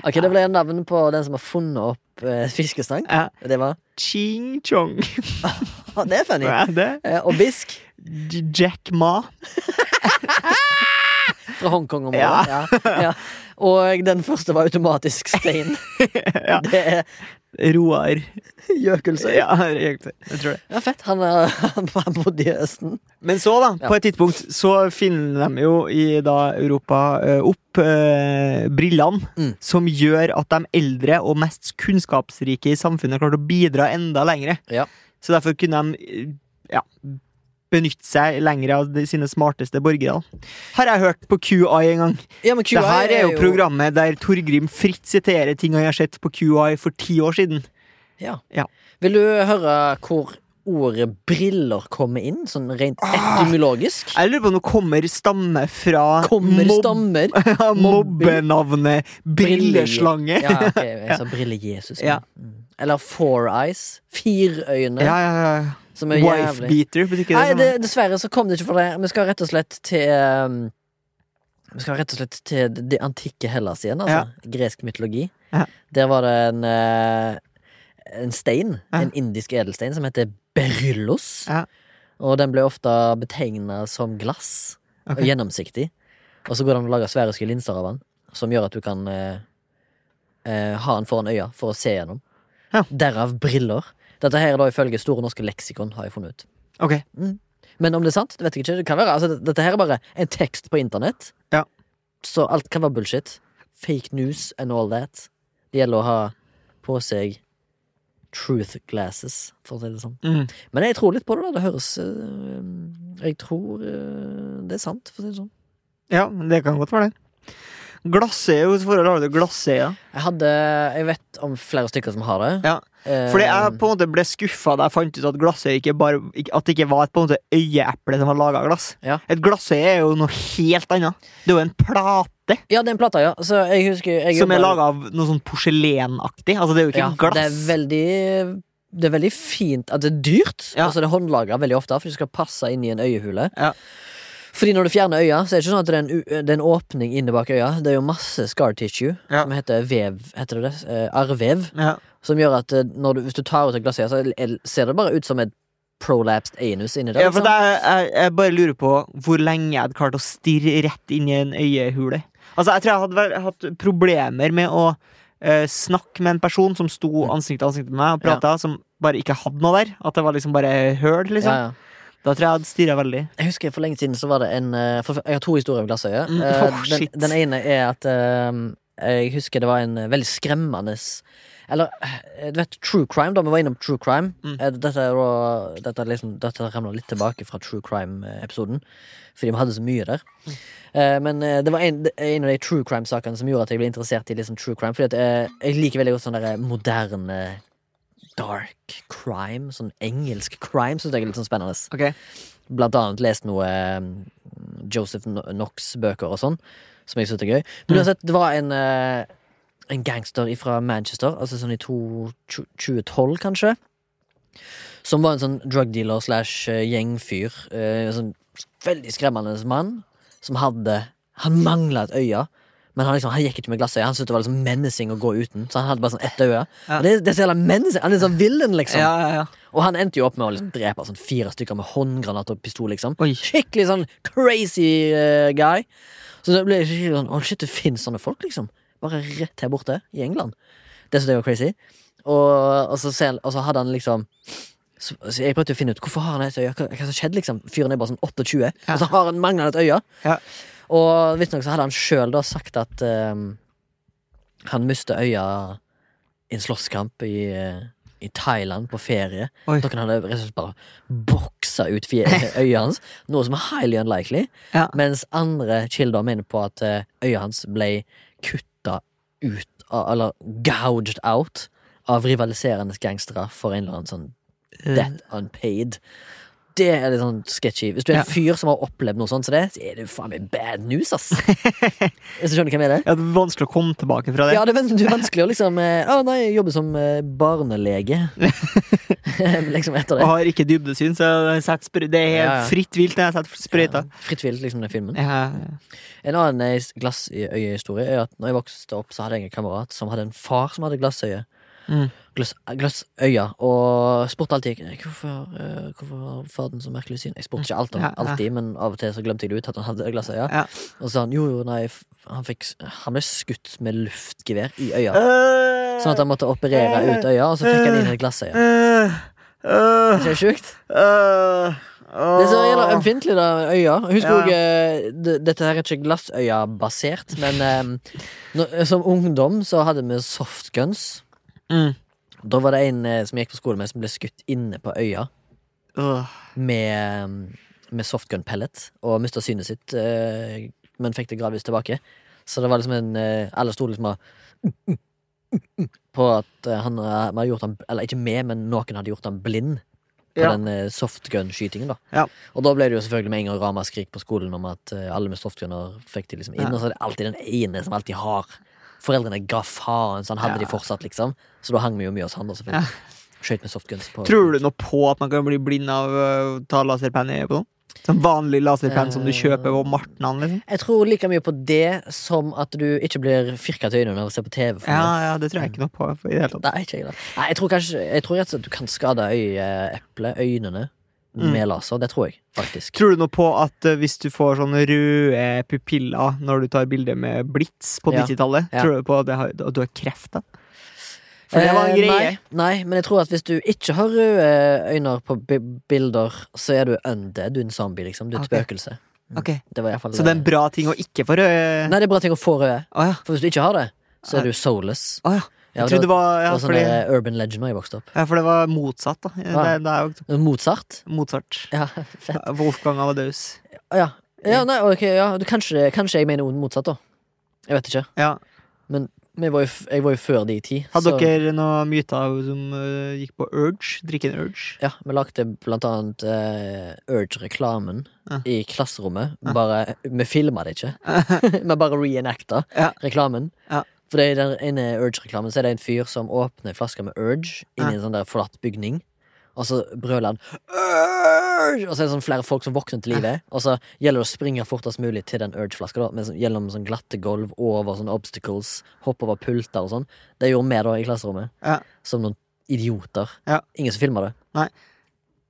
Ok, Det ble navnet på den som har funnet opp eh, fiskestang. ja. Det var Ching-chong. Å, Ah, Det er funny. Hva er det? Eh, og bisk J- Jack Ma. fra Hongkong-området. Ja. Ja. Og den første var automatisk stein. ja. Det er Roar. Gjøkelsøy. Ja. Ja, jeg tror det. fett. Han, er- han bodde i Østen. Men så, da, Ja. på et tidspunkt, så finner de jo i da Europa eh, opp eh, brillene Mm. som gjør at de eldre og mest kunnskapsrike i samfunnet klarte å bidra enda lengre. Ja. Så derfor kunne de eh, ja, benytte seg lenger av de, sine smarteste borgere. Har jeg hørt på QI en gang. Ja, men det her er jo programmet der Torgrim fritt siterer ting han har sett på QI for ti år siden. Vil du høre hvor ordet briller kommer inn, sånn rent Ah. etymologisk? Jeg lurer på om det kommer stamme fra Kommer mob- stammer? ja, mobbenavnet Brilleslange. Ja, ok, jeg sa brille-Jesus. men- Ja. Mm. Eller four eyes. Firøyne. Ja, ja, ja. Som er jævlig. Wifebeater, betyr ikke det? Nei, sånn? det, dessverre så kom det ikke for det. Vi skal rett og slett til um, Vi skal rett og slett til det det antikke Hellas igjen, altså. Gresk mytologi. Ja. Der var det en eh, En stein, Ja. en indisk edelstein, som heter beryllos. Ja. Og den ble ofte betegna som glass. Ok. Og gjennomsiktig. Og så går det an å lage sværiske linser av den, som gjør at du kan eh, eh, ha den foran øya for å se gjennom. Ja. Derav briller. Dette her er da ifølge Store norske leksikon, har jeg funnet ut. Ok. Men om det er sant, det vet jeg ikke. Det kan være, altså, det- dette her er bare en tekst på internett. Ja. Så alt kan være bullshit. Fake news and all that. Det gjelder å ha på seg truth glasses, for å si det sånn. Mm. Men jeg tror litt på det, da. Det høres eh, Jeg tror eh, det er sant, for å si det sånn. Ja, det kan godt være det. Glassøye, hvilket forhold har du til glassøye? Jeg hadde Jeg vet om flere stykker som har det. Ja. Eh, Fordi jeg på en måte ble skuffa da jeg fant ut at glassøye ikke bare ikke- At det ikke var et på en måte øyeeple som var laga av glass. Ja. Et glassøye er jo noe helt annet. Det er jo en plate Ja, det er en plate, ja. Så jeg husker jeg som er jobbet- laga av noe sånn porselenaktig. Altså, det er jo ikke ja, glass. Det er veldig det er veldig fint at det er dyrt. Ja. Altså Det er håndlaga veldig ofte, for det skal passe inn i en øyehule. Ja. Fordi når du fjerner øya, så er det ikke sånn at det er en, u- det er en åpning inne bak øya. Det er jo masse scar tissue, Ja. som heter vev, heter det det? Eh, arrvev. Ja. Som gjør at eh, når du, hvis du tar ut et glass øya, så er- ser det bare ut som et prolapsed anus inni der. Ja, for liksom. at jeg, jeg, jeg bare lurer på hvor lenge jeg hadde klart å stirre rett inn i en øyehule. Altså, Jeg tror jeg hadde vært- hatt problemer med å eh, snakke med en person som sto Mm. ansikt til ansikt med meg og prata, som bare ikke hadde noe der. At det var liksom bare høl, liksom. Ja, ja. Da tror jeg jeg hadde stirra veldig. Jeg husker for lenge siden så var det en eh, for, Jeg har to historier om glassøye. Mm, Eh, oh, shit. den, den ene er at eh, jeg husker det var en eh, veldig skremmende s- Eller eh, du vet true crime, da vi var innom true crime. Mm. Eh, dette er da Dette, er liksom, dette ramla litt tilbake fra true crime-episoden, fordi vi hadde så mye der. Mm. Eh, men eh, det var en, det er en av de true crime-sakene som gjorde at jeg ble interessert i liksom, true crime. Fordi at eh, jeg liker veldig godt sånn der moderne dark crime. Sånn engelsk crime syns jeg er litt sånn spennende Ok. blant annet lest noe eh, Joseph Knox-bøker og sånn, som jeg syntes er gøy. Mm. Men uansett, det var en, eh, en gangster fra Manchester, altså sånn i to- tju- 2012, kanskje, som var en sånn drug dealer slash eh, gjengfyr. eh, sånn veldig skremmende mann, som hadde Han mangla et øye. Men han, liksom, han gikk ikke med glassøye. Han syntes det var liksom menacing å gå uten. Så han hadde bare sånn ett øye. Ja. Og Det, det er så jævla menacing. Han er sånn villen, liksom. ja, ja. Og han endte jo opp med å liksom drepe sånn fire stykker med håndgranat og pistol, liksom. Oi. Skikkelig sånn crazy eh, guy. Så det ble skikkelig sånn Å, shit, det finnes sånne folk, liksom. Bare rett her borte, i England. Det syntes jeg var crazy. Og, og, så, selv, og så hadde han liksom så, så Jeg prøvde å finne ut hvorfor har han et øye. Hva, hva som skjedde, liksom? Fyren er bare sånn 28, og så har han mangler et øye. Ja. Og visstnok så hadde han sjøl da sagt at ehm, han mista øya i en slåsskamp i, eh, i Thailand, på ferie. Oi. Noen hadde rett og slett bare boksa ut fje- øya hans, noe som er highly unlikely. Ja. Mens andre kilder mener på at eh, øya hans ble kutta ut, av, eller gouged out, av rivaliserende gangstere for en eller annen sånn Eh. debt unpaid. Det er litt sånn sketchy. Hvis du er en Ja. fyr som har opplevd noe sånt som det, så er det jo faen meg bad news, ass. Hvis du skjønner hva jeg mener? Ja, det er vanskelig å komme tilbake fra det. Ja, det er van- det er vanskelig å liksom eh, Å nei, jeg jobber som eh, barnelege. liksom etter Og det. har ikke dybdesyn, så jeg setter spr- det er Ja, ja. fritt vilt når jeg setter sprøyta. Ja, Fritt vilt, liksom, den filmen. Ja. ja. En annen eh, glassøyehistorie er at når jeg vokste opp, så hadde jeg en kamerat som hadde en far som hadde glassøye. Mm. Glass, glassøye. Og spurte alltid eh, hvorfor, eh, hvorfor har faren så merkelig syn. Jeg spurte ikke alt om Ja, ja. alltid, men av og til så glemte jeg det ut at han hadde glassøye. Ja. Og så sa han jo, jo, nei, f- han, fikk, han ble skutt med luftgevær i øya. Øh, Sånn at han måtte operere ut øya, og så fikk han inn et glassøye. øh, øh, Ikke det sjukt? øh, Det er så åh. jævla ømfintlig, da, øya. Husk Ah. Ja, ja. også, eh, d- Dette her er ikke glassøya-basert, men eh, nå- som ungdom så hadde vi softguns. Mm. Da var det en eh, som jeg gikk på skole med, som ble skutt inne på øya. Øh. med, mm, med softgun pellet og mista synet sitt, eh, men fikk det gradvis tilbake. Så det var liksom en eh, Alle sto liksom og På at eh, han eh, man hadde gjort han Eller ikke med, men noen hadde gjort han blind på Ja. den eh, softgun-skytingen, da. Ja. Og da ble det jo selvfølgelig med en gang ramaskrik på skolen om at eh, alle med softguner fikk de liksom inn, Ja. og så er det alltid den ene som alltid har. Foreldrene ga faen, så han hadde Ja. de fortsatt, liksom. Så da hang vi jo mye hos han, da, selvfølgelig. Skøyt med softguns på Tror du noe på at man kan bli blind av øh, å ta laserpenn i på noen? Sånn vanlig laserpenn Eh. som du kjøper på Martnan, liksom? Jeg tror like mye på det som at du ikke blir firka til øynene når du ser på TV. for Ja, mye. ja, det tror jeg ikke noe på i det hele tatt. Nei, ikke jeg, da. Nei, jeg tror kanskje Jeg tror rett og slett du kan skade øyeeplet, øynene, Mm. med laser. Det tror jeg faktisk. Tror du noe på at eh, hvis du får sånne røde pupiller når du tar bilder med blits på Ja. 90-tallet, Ja. tror du på at, det har, at du har kreft da? For det var en Eh, greie. Nei, nei, men jeg tror at hvis du ikke har røde øyne på bi bilder, så er du undead. Du er en zombie, liksom. Du er et Ok. spøkelse. Ok, Det var i hvert fall Så det er en bra ting å ikke få røde Nei, det er bra ting å få røde. Å ja. For hvis du ikke har det, så Nei. er du soulless. Å ja. Jeg Ja, trodde det var ja, det var sånn fordi, der urban legend da jeg vokste opp. ja, for det var motsatt, da. Det, Ja. det er jo Mozart. Mozart. Ja, fett. Wolfgang Amadeus. Ja, ja nei, ok, ja. Du, kanskje, kanskje jeg mener ord motsatt, da. Jeg vet ikke. Ja. Men jeg var jo, f- jeg var jo før de ti. Hadde så- dere noen myter som eh, gikk på urge? Drikken urge? Ja, vi lagde blant annet eh, Urge-reklamen Ja. i klasserommet. Bare, vi filma det ikke, vi bare reenacta Ja. reklamen. Ja. For i den ene Urge-reklamen Så er det en fyr som åpner flaska med Urge inni Ja. en sånn der forlatt bygning. Og så brøler han Urge! Og så er det sånn flere folk som våkner til live. Og så gjelder det å springe fortest mulig til den Urge-flaska. da, med sånn- Gjennom sånn glatte gulv, over sånne obstacles, hoppe over pulter og sånn. Det gjorde vi da i klasserommet. Ja. Som noen idioter. Ja. Ingen som filma det. Nei.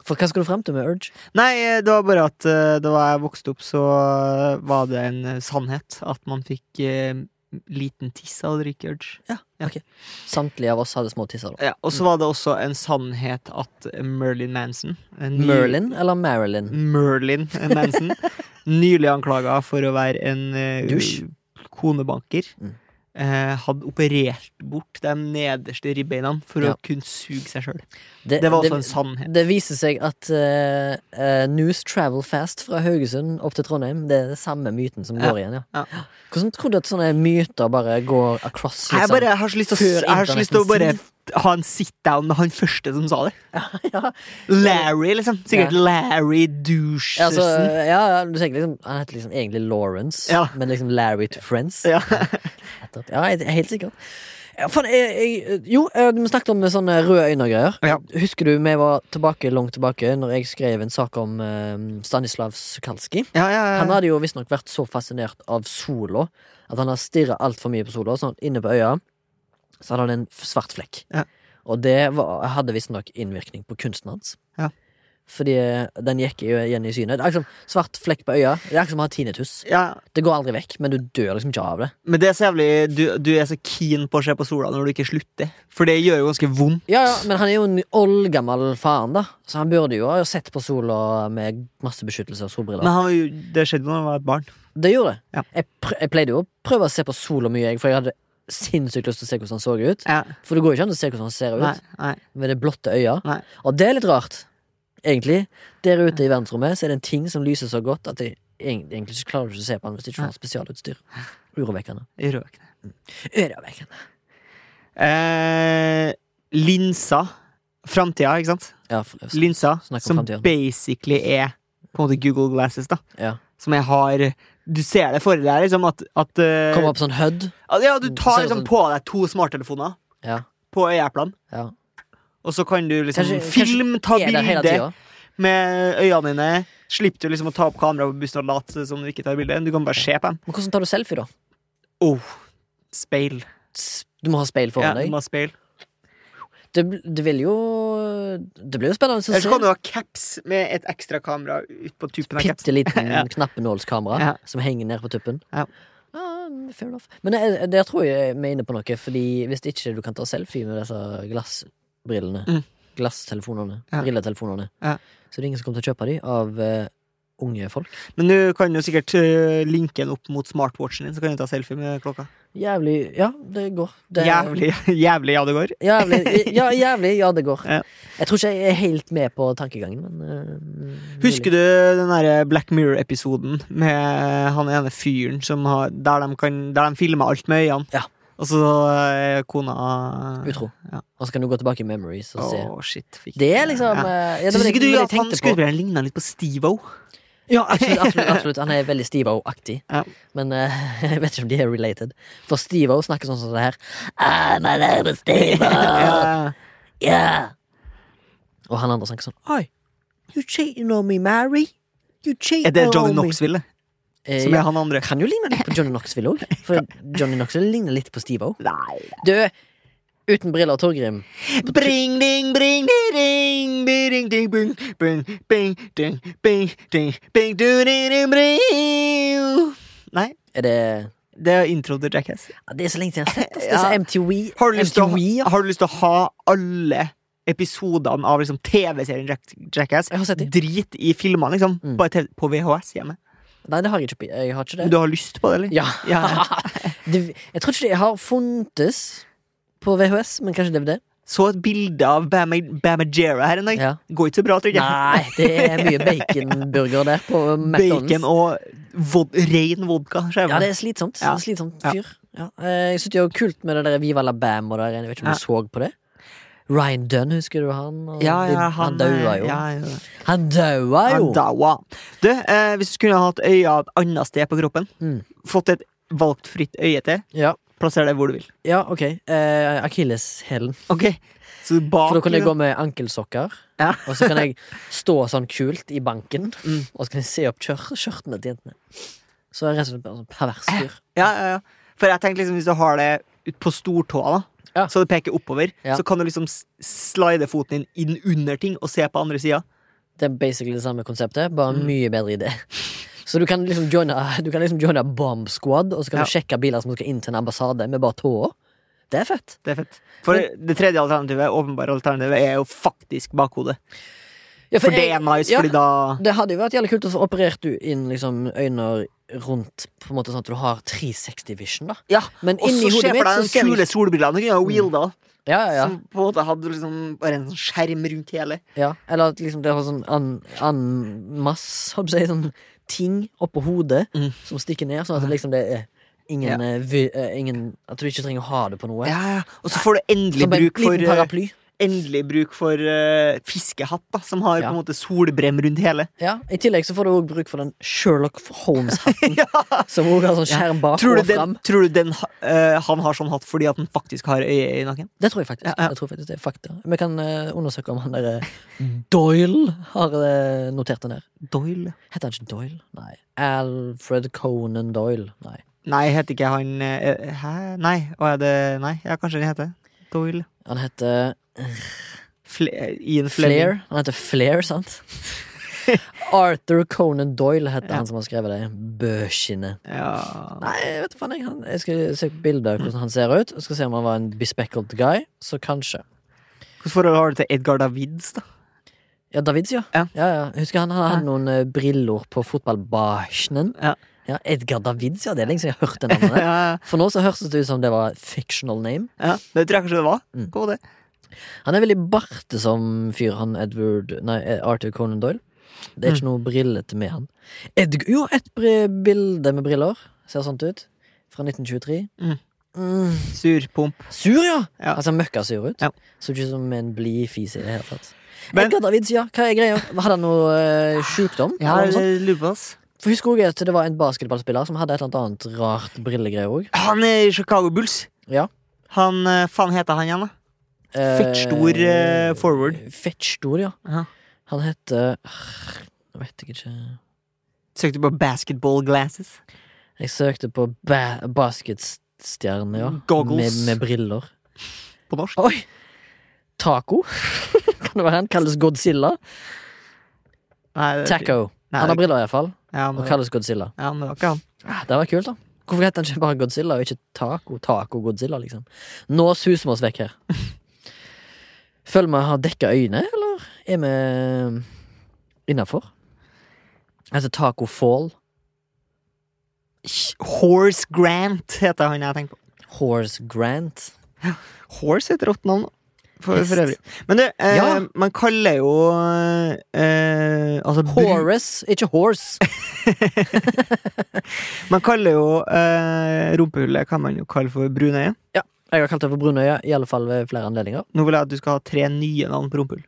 For hva skal du frem til med Urge? Nei, eh, det var bare at eh, da jeg vokste opp, så eh, var det en eh, sannhet at man fikk eh, liten tiss av å drikke urge. Mm. Samtlige av oss hadde små tisser. da Ja, og så var det også en sannhet at Merlin Manson en ny- Merlin eller Marilyn? Mm. Merlin Manson Nylig anklaga for å være en eh, Douche. konebanker. Mm. eh, hadde operert bort de nederste ribbeina for Ja. å kunne suge seg sjøl. Det var sånn også en sannhet. Det viser seg at eh, eh, News Travel Fast fra Haugesund opp til Trondheim, det er den samme myten som Ja, går igjen, ja. ja. Hvordan tror du at sånne myter bare går across? liksom? Jeg, bare, jeg har så lyst til å, Før jeg har så lyst til å bare internettens ha en sit down med han første som sa det. ja. Larry, liksom. Sikkert Larry Douchesen. Altså, ja, ja, du tenker liksom Han heter liksom egentlig Lawrence, Ja. men liksom Larry to Friends. ja. Nettopp. Ja, jeg, helt sikkert. Ja, faen, jeg, jeg, jo, eh, vi snakket om sånne røde øyne og greier. Ja. Husker du vi var tilbake langt tilbake når jeg skrev en sak om eh, Stanislav Sukalski? ja, ja, Han ja. hadde jo visstnok vært så fascinert av sola at han har stirra altfor mye på sola. Så han- inne på øya Så hadde han en f- svart flekk. Ja. Og det var, hadde visstnok innvirkning på kunsten hans. Ja. Fordi eh, den gikk jo igjen i synet. Det er akkurat som svart flekk på øya. Det er akkurat som å ha tinnitus. ja. Det går aldri vekk, men du dør liksom ikke av det. Men det er så jævlig du, du er så keen på å se på sola når du ikke slutter. For det gjør jo ganske vondt. Ja, ja, men han er jo en oldgammel faen, da. Så han burde jo ha sett på sola med masse beskyttelse og solbriller. Men han, var jo- det skjedde jo da han var et barn. Det gjorde det. Ja. Jeg, pr jeg pleide jo å prøve å se på sola mye, jeg, for jeg hadde sinnssykt lyst til å se hvordan han så ut. Ja. For det går jo ikke an å se hvordan han ser ut Nei, nei. med det blotte øya. Nei. Og det er litt rart, egentlig. Der ute i verdensrommet så er det en ting som lyser så godt at jeg eng- egentlig ikke klarer ikke å se på den hvis du ikke Nei. har spesialutstyr. Urovekkende. Jeg rører ikke det. Urovekkende. Eh, linsa. Framtida, ikke sant? Ja, for, ja, Linsa, Snakk om som fremtiden. basically er på en måte Google Glasses, da. Ja. Som jeg har Du ser det for deg, liksom, at, at eh, Kom opp sånn HUD. at- Ja, du tar Så ser det liksom sånn- på deg to smarttelefoner Ja. på øyeeplene, ja. og så kan du liksom Kanskje- film, ta Er der hele bilde tida. med øynene dine. Slipper du liksom å ta opp kameraet på bussen og late som du ikke tar bilde. Du kan bare se på dem. Men hvordan tar du selfie, da? Oh, speil. S- Du må ha speil Ja, foran du deg. må ha speil. Det, bl- det vil jo Det blir jo spennende å Eller så kan du se. ha caps med et ekstra kamera ut på tuppen av capsen. Bitte liten Ja. knappenålskamera Ja. som henger ned på tuppen. Ja. Ja, fair enough. Men der, der tror jeg vi er inne på noe, Fordi hvis ikke du kan ta selfie med disse glassbrillene, Mm. glasstelefonene, Ja. brilletelefonene, Ja. så det er ingen som kommer til å kjøpe de av eh, unge folk. Men du kan jo sikkert eh, linke den opp mot smartwatchen din, så kan du ta selfie med klokka. Jævlig Ja, det går. Det, Jævlig, jævlig ja det går. Jævlig, ja, jævlig, ja, det går. Ja. Jeg tror ikke jeg er helt med på tankegangen, men eh, Husker du den der Black Mirror-episoden med han ene fyren som har Der de, kan, der de filmer alt med øynene? Ja. Og så eh, kona mulig. Utro. Ja. Og så kan du gå tilbake i memories og Å, se. shit. Fikk Det er liksom ja. eh, ja, det var Syns det- ikke du det var det at jeg han tenkte på. skuespilleren ligna litt på Steve-O? Ja, absolutt, absolutt, absolutt. Han er veldig Steve-O-aktig. Ja. Men eh, jeg vet ikke om de er related. For Steve-O snakker sånn som det her. Ah, I'm a little Steve-O! Ja. Yeah. Og han andre snakker sånn Oi, you cheating on me, Mary? You cheating Er det Johnny on me. Knoxville, det? Eh, som ja. er han andre? Kan jo ligne litt på Johnny Knoxville òg. For Johnny Knoxville ligner litt på Steve-O. Nei. Du, uten briller, Torgrim. Bring, ding, bring, di, ding, di, ding, ding, bing, bing, bing, ding, bing, ding, bing, du, di, di, bring. Nei, Er det det er intro til Jackass. Ja, Det er så lenge siden jeg har sett oss. Det Ja. er så MTV. Har du lyst til MTV, ja. å, har du lyst til å ha alle episodene av liksom, TV-serien Jack, Jackass? Jeg har sett de. Drit i filmene, liksom. Mm. Bare TV, på VHS hjemme. Nei, det har jeg ikke. Jeg har ikke Men det. du har lyst på det, eller? Ja. Ja. det, jeg tror ikke det har funtes på VHS, men kanskje DVD. Så et bilde av Bama, Bamajera her en dag. Ja. Går ikke så bra, tror jeg. Nei, det er mye baconburger der på McDonald's. Bacon og vod ren vodka. skjønner Ja, jeg. det er slitsomt. Ja. Slitsomt Ja. fyr. Ja. Eh, Jeg synes det er jo kult med det der Viva la Bam og det der. Jeg vet ikke om du så på det? Ryan Dunn, husker du han? Og ja, de- ja, han, sånn han daua eh, jo. Ja, ja. Han daua jo! Han daua. Du, eh, hvis du skulle hatt øya et annet sted på kroppen, Mm. fått et valgt fritt øye til, Ja. plasser det hvor du vil. ja, ok. Eh, Akilleshælen. Ok, så bak For da kan jeg liksom. gå med ankelsokker. Ja. Og så kan jeg stå sånn kult i banken, Mm. og så kan jeg se opp kjør- skjørtene til jentene. Så er jeg rett og slett bare sånn pervers fyr. Ja, ja, ja. For jeg tenkte liksom, hvis du har det ut på stortåa, da, Ja. så det peker oppover, Ja. så kan du liksom s- slide foten din inn under ting og se på andre sida. Det er basically det samme konseptet, bare Mm. mye bedre idé. Så du kan liksom joine, du kan liksom joine bomb squad, og så kan Ja. du sjekke biler som skal inn til en ambassade med bare tåa. Det er fett. Det er fett. For det tredje alternativet, åpenbare alternativet, er jo faktisk bakhodet. Ja, For det jeg- er nice, ja, fordi da Det hadde jo vært jævlig kult å få operert du inn liksom øyne rundt på en måte sånn at du har 360 vision, da. Ja, Men Og inni så hodet ser mitt for deg så den ser kule jeg Mm. solbrillene du kunne ha wielda. ja, ja, ja. Som på en måte hadde liksom bare en sånn skjerm rundt hele. Ja, eller at liksom det har sånn an, an mass, holdt på å si, sånn ting oppå hodet Mm. som stikker ned, sånn at det liksom det er ingen, Ja. eh, vi, eh, ingen At du ikke trenger å ha det på noe. Ja, ja. Og så får du endelig Som en bruk liten for, eh, paraply. endelig bruk for eh, fiskehatt, da, som har Ja. på en måte solbrem rundt hele. Ja, I tillegg så får du også bruk for den Sherlock Holmes-hatten, Ja. som også har sånn skjerm bak Tror du, og den, fram. tror du den, ha- eh, han har sånn hatt fordi at han faktisk har øye i nakken? Det tror jeg faktisk. Ja, ja. Jeg tror faktisk det er fakta. Vi kan eh, undersøke om han derre Mm. Doyle har eh, notert den der. Doyle? Heter han ikke Doyle? Nei. Alfred Conan Doyle. Nei. Nei, heter ikke han eh, Hæ? Nei, hva er det Nei, ja, kanskje han heter Doyle. Han heter Fle eh, Ian Fleming. Flair. Han heter Flair, sant? Arthur Conan Doyle heter Ja. han som har skrevet det. Bøskinnet. Ja. Nei, jeg vet faen jeg. Han, jeg skal se bilder av hvordan han ser ut. Jeg skal se om han var en bespeckled guy. Så kanskje. Hvilket forhold har du til Edgar Davids, da? Ja, Davids, ja. Ja. ja, ja. Husker han, han hadde noen eh, briller på fotballbasjen. Ja. ja. Edgar Davids, ja. Det er lenge siden jeg har hørt det navnet. Ja, For nå så hørtes det ut som det var fictional name. ja, det tror jeg kanskje det var. Mm. Hva var det? Han er veldig bartesom fyr, han Edward Nei, eh, Arthur Conan Doyle. Det er Mm. ikke noe brillete med han. Edg jo, et bri- bilde med briller. Ser sånt ut. Fra 1923. Mm. Mm. Surpomp. Sur, ja! Ja. Han ser møkkasur ut. Ja. Så ikke ut som en blid fis i det hele tatt. Men- Ah, Edgar Davids, ja. Hva er greia? Hadde han noe eh, sjukdom? Ja, Eller noe sånt? jeg lurer på ass. For Husker også at det var en basketballspiller som hadde et eller annet annet rart brillegreie òg. Han er i Chicago Bulls. Ja. Han, eh, faen heter han igjen, da? Fettstor eh, forward. Fettstor, ja. Ja. Han heter Arr, Jeg vet jeg ikke. Søkte på basketball glasses. Jeg søkte på ba basketstjerne, ja. Goggles. Med, med briller. På norsk. Oi! Taco? kan det være han? Kalles Godzilla? Nei, det- Taco. Eh, Nei, han har briller, iallfall. Ja, men, Og kalles Godzilla. ja, men det var ikke han. Ah, Det var kult, da. Hvorfor heter han ikke bare Godzilla og ikke Taco? Taco Godzilla, liksom. Nå suser vi oss vekk her. Føler vi har dekka øyne, eller er vi eh, innafor? Altså Taco Fall. Horse Grant heter han jeg tenker på. Horse Grant. Horse heter rått navn. for, for øvrig. Men du, eh, Ja. man kaller jo eh, Altså bru- Horace, ikke horse. Man kaller jo eh, rumpehullet kan man jo kalle for brunøye. Jeg har kalt det for brunøye, i alle fall ved flere anledninger. Nå vil jeg at du skal ha tre nye navn på rumpehull.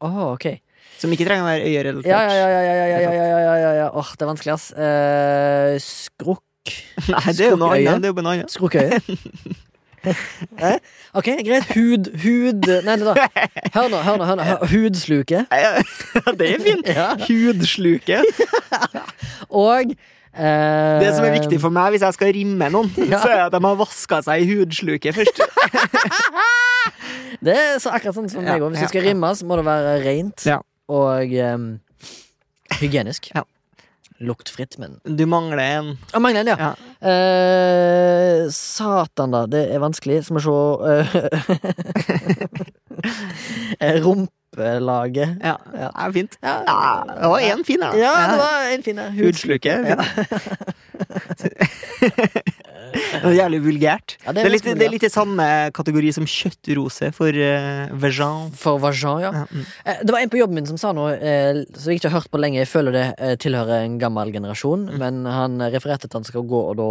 Åh, ok Som ikke trenger å være øyerelatert. Ja, ja, ja, ja, ja, ja, ja, ja, ja, ja, ja, ja. Åh, det er vanskelig, ass. Eh, skrukk Nei, det er jo noe Skuggøye. annet. Det er jo bare noe annet. Skrukkøye. eh? Ok, greit. Hud, hud Nei, nei, da. Hør nå, hør nå. hør nå hør- Hudsluke. Ja, det er fint. Ja. Hudsluke. Og eh, Det som er viktig for meg hvis jeg skal rimme noen, så er at de har vaska seg i hudsluket først. Det er så akkurat sånn som Ja, meg òg. Hvis ja, det skal ja. rimes, må det være rent Ja. og em, hygienisk. Ja. Luktfritt, men Du mangler en. Å, mangler en, ja. Ja. Eh, satan, da. Det er vanskelig. Skal vi se eh, Rumpelaget. Ja, det Ja. er fint. Ja, Ja, det var én fin, da. ja, det var en fin en. Huds- Hudsluke. er fint. Det er jævlig vulgært. Ja, Det er, litt, ganske det er litt i samme kategori som kjøttrose for uh, vagin. For vagin, ja. Ja, mm. Eh, Det var en på jobben min som sa noe eh, som jeg ikke har hørt på lenge. Jeg føler det eh, tilhører en gammel generasjon, Mm. men han eh, refererte til at han skal gå og da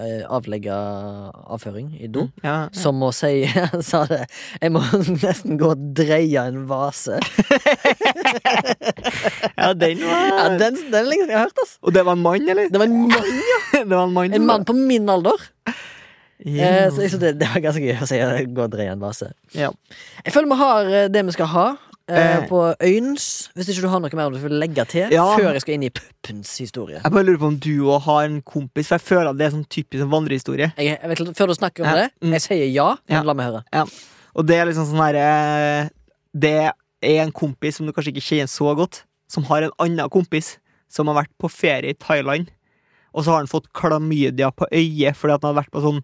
eh, avlegge avføring i do. Ja, Mm. ja. Som å si Han sa det. Jeg må nesten gå og dreie en vase. ja, den Ja, var den, den er lenge siden jeg har hørt, ass. Og det var en mann, eller? Det var en mann, Det var en mann. en mann på min alder. Eh, Ja. så jeg synes det, det var ganske gøy å si. eh, Gå og dreie en vase. Ja. Jeg føler vi har eh, det vi skal ha. eh, Eh. På øyns, hvis ikke du har noe mer du vil legge til Ja. før jeg skal inn i puppens historie. Jeg bare lurer på om du òg har en kompis, for jeg føler at det er sånn typisk sånn vandrehistorie. Jeg, jeg vet, ikke- før du snakker om Ja, det, mm. jeg sier ja, men Ja. la meg høre. Og det er liksom sånn her eh, Det er en kompis som du kanskje ikke kjenner så godt, som har en annen kompis som har vært på ferie i Thailand, og så har han fått klamydia på øyet fordi at han har vært på sånn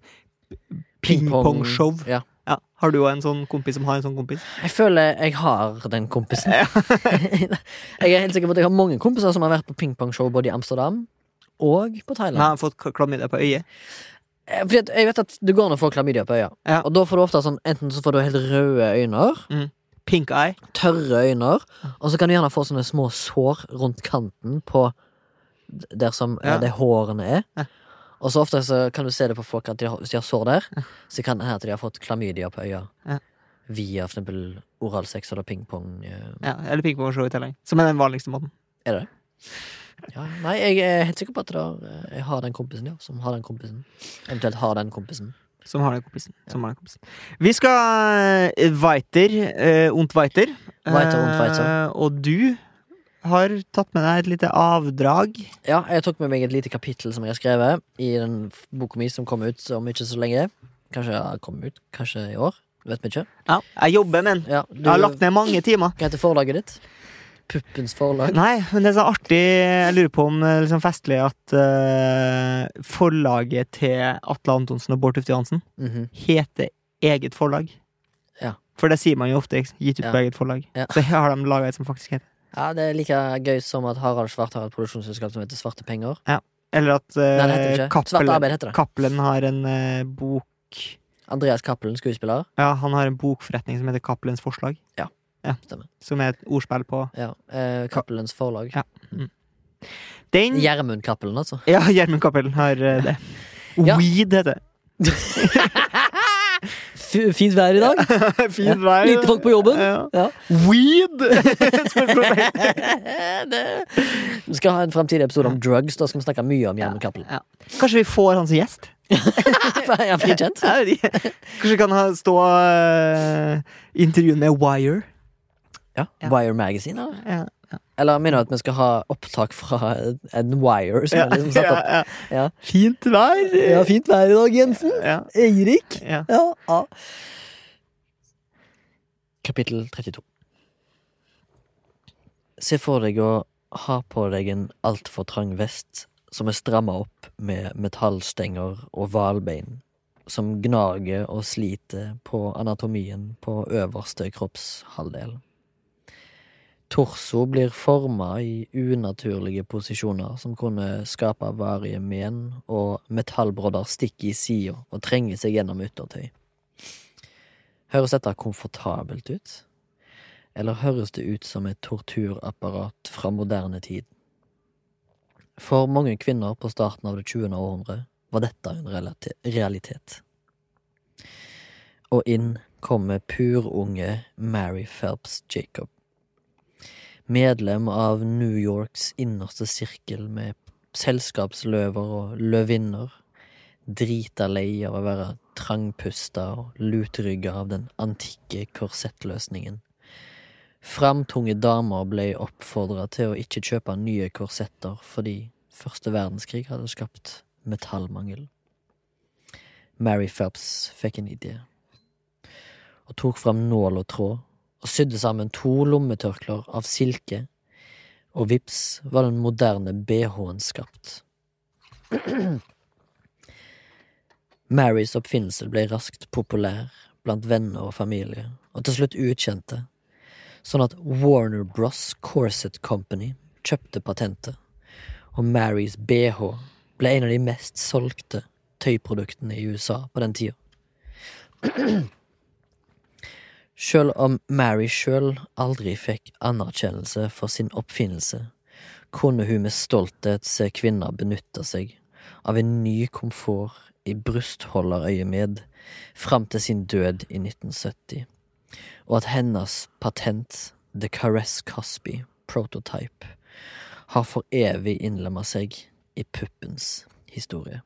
pingpongshow. Ja. Ja. Har du òg en sånn kompis som har en sånn kompis? Jeg føler jeg har den kompisen. jeg er helt sikker på at jeg har mange kompiser som har vært på pingpongshow både i Amsterdam og på Men han Thailand. har fått k- klamydia på øyet. Eh, Fordi at jeg vet at du går an å få klamydia på øya, Ja. og da får du ofte sånn enten så får du helt røde øyne, Pink eye. tørre øyne, og så kan du gjerne få sånne små sår rundt kanten på d- der som eh, Ja. det hårene er. Ja. Og så ofte så kan du se det på folk at de har, hvis de har sår der, så kan det hende at de har fått klamydia på øya. Ja. Via for eksempel oralsex eller pingpong. eh. Ja, eller pingpongshow i Thailand. Som er den vanligste måten. Ja, nei, jeg er helt sikker på at det har, eh, jeg har den kompisen, ja. Som har den kompisen. Eventuelt har den kompisen. Som har den kompisen. Som har den kompisen. Vi skal eh, weiter, eh, ondt weiter. Weiter, ondt weiter. Eh, og du har tatt med deg et lite avdrag. Ja, jeg tok med meg et lite kapittel som jeg har skrevet i den f- boka mi som kom ut om ikke så lenge. Kanskje ja, kom ut kanskje i år. Vet vi ikke. Ja. Jeg jobber med den. Ja, du, Jeg har lagt ned mange timer. Hva heter forlaget ditt? Puppens forlag. Nei, men det er så artig Jeg lurer på om det er liksom festlig at eh, forlaget til Atle Antonsen og Bård Tufte Johansen Mhm. heter eget forlag. Ja. For det sier man jo ofte. ikke sant? Gitt ut Ja. på eget forlag. Ja. Så her har de laga et som faktisk heter Ja, Det er like gøy som at Harald Svart har et produksjonsselskap som heter Svarte penger. Eller at Nei, det heter eh, det ikke. Svart Cappelen arbeid heter det. Cappelen har en eh, bok Andreas Cappelen, skuespiller. Ja, han har en bokforretning som heter Cappelens Forslag. Ja, stemmer. Som er et ordspill på Ja, eh, Cappelens forlag. Ja. den. Gjermund Cappelen, altså. Ja, Gjermund Cappelen har eh, det. Ja. Weed heter det. F fint vær i dag. Fin vei. Lite folk på jobben. Ja. Ja. Weed! Spørsmålstegn. det. Vi skal ha en fremtidig episode om drugs. Da skal vi snakke mye om Gjermund Cappelen. Ja. Kanskje vi får han som gjest? Er han frikjent? Jeg vet ikke. Kanskje vi kan ha, stå eh, intervjuen med Wire? Ja. Ja. Wire Magazine, eller? Ja. Eller mener du at vi skal ha opptak fra en Wire som er liksom satt opp? Ja, ja. Ja. Fint vær. Ja, fint vær i dag, Jensen. Ja, Eirik. ja. Ja, ja. Kapittel 32. Se for deg å ha på deg en altfor trang vest som er stramma opp med metallstenger og hvalbein, som gnager og sliter på anatomien på øverste kroppshalvdel. Torso blir forma i unaturlige posisjoner som kunne skape varige men, og metallbrodder stikker i sida og trenger seg gjennom yttertøy. Høres dette komfortabelt ut? Eller høres det ut som et torturapparat fra moderne tid? For mange kvinner på starten av det 20. århundret var dette en relati- realitet. Og inn kommer purunge Mary Phelps Jacob. Medlem av New Yorks innerste sirkel med selskapsløver og løvinner. Drita lei av å være trangpusta og lutrygga av den antikke korsettløsningen. Framtunge damer ble oppfordra til å ikke kjøpe nye korsetter fordi første verdenskrig hadde skapt metallmangel. Mary Phelps fikk en idé, og tok fram nål og tråd og sydde sammen to lommetørklær av silke, og vips var den moderne BH-en skapt. Marys oppfinnelse ble raskt populær blant venner og familie, og til slutt utkjente, sånn at Warner Bros Corset Company kjøpte patentet, og Marys BH ble en av de mest solgte tøyproduktene i USA på den tida. Sjøl om Mary sjøl aldri fikk anerkjennelse for sin oppfinnelse, kunne hun med stolthet se kvinner benytte seg av en ny komfort i brystholderøyemed fram til sin død i 1970, og at hennes patent, The Caress Cosby Prototype, har for evig innlemma seg i puppens historie.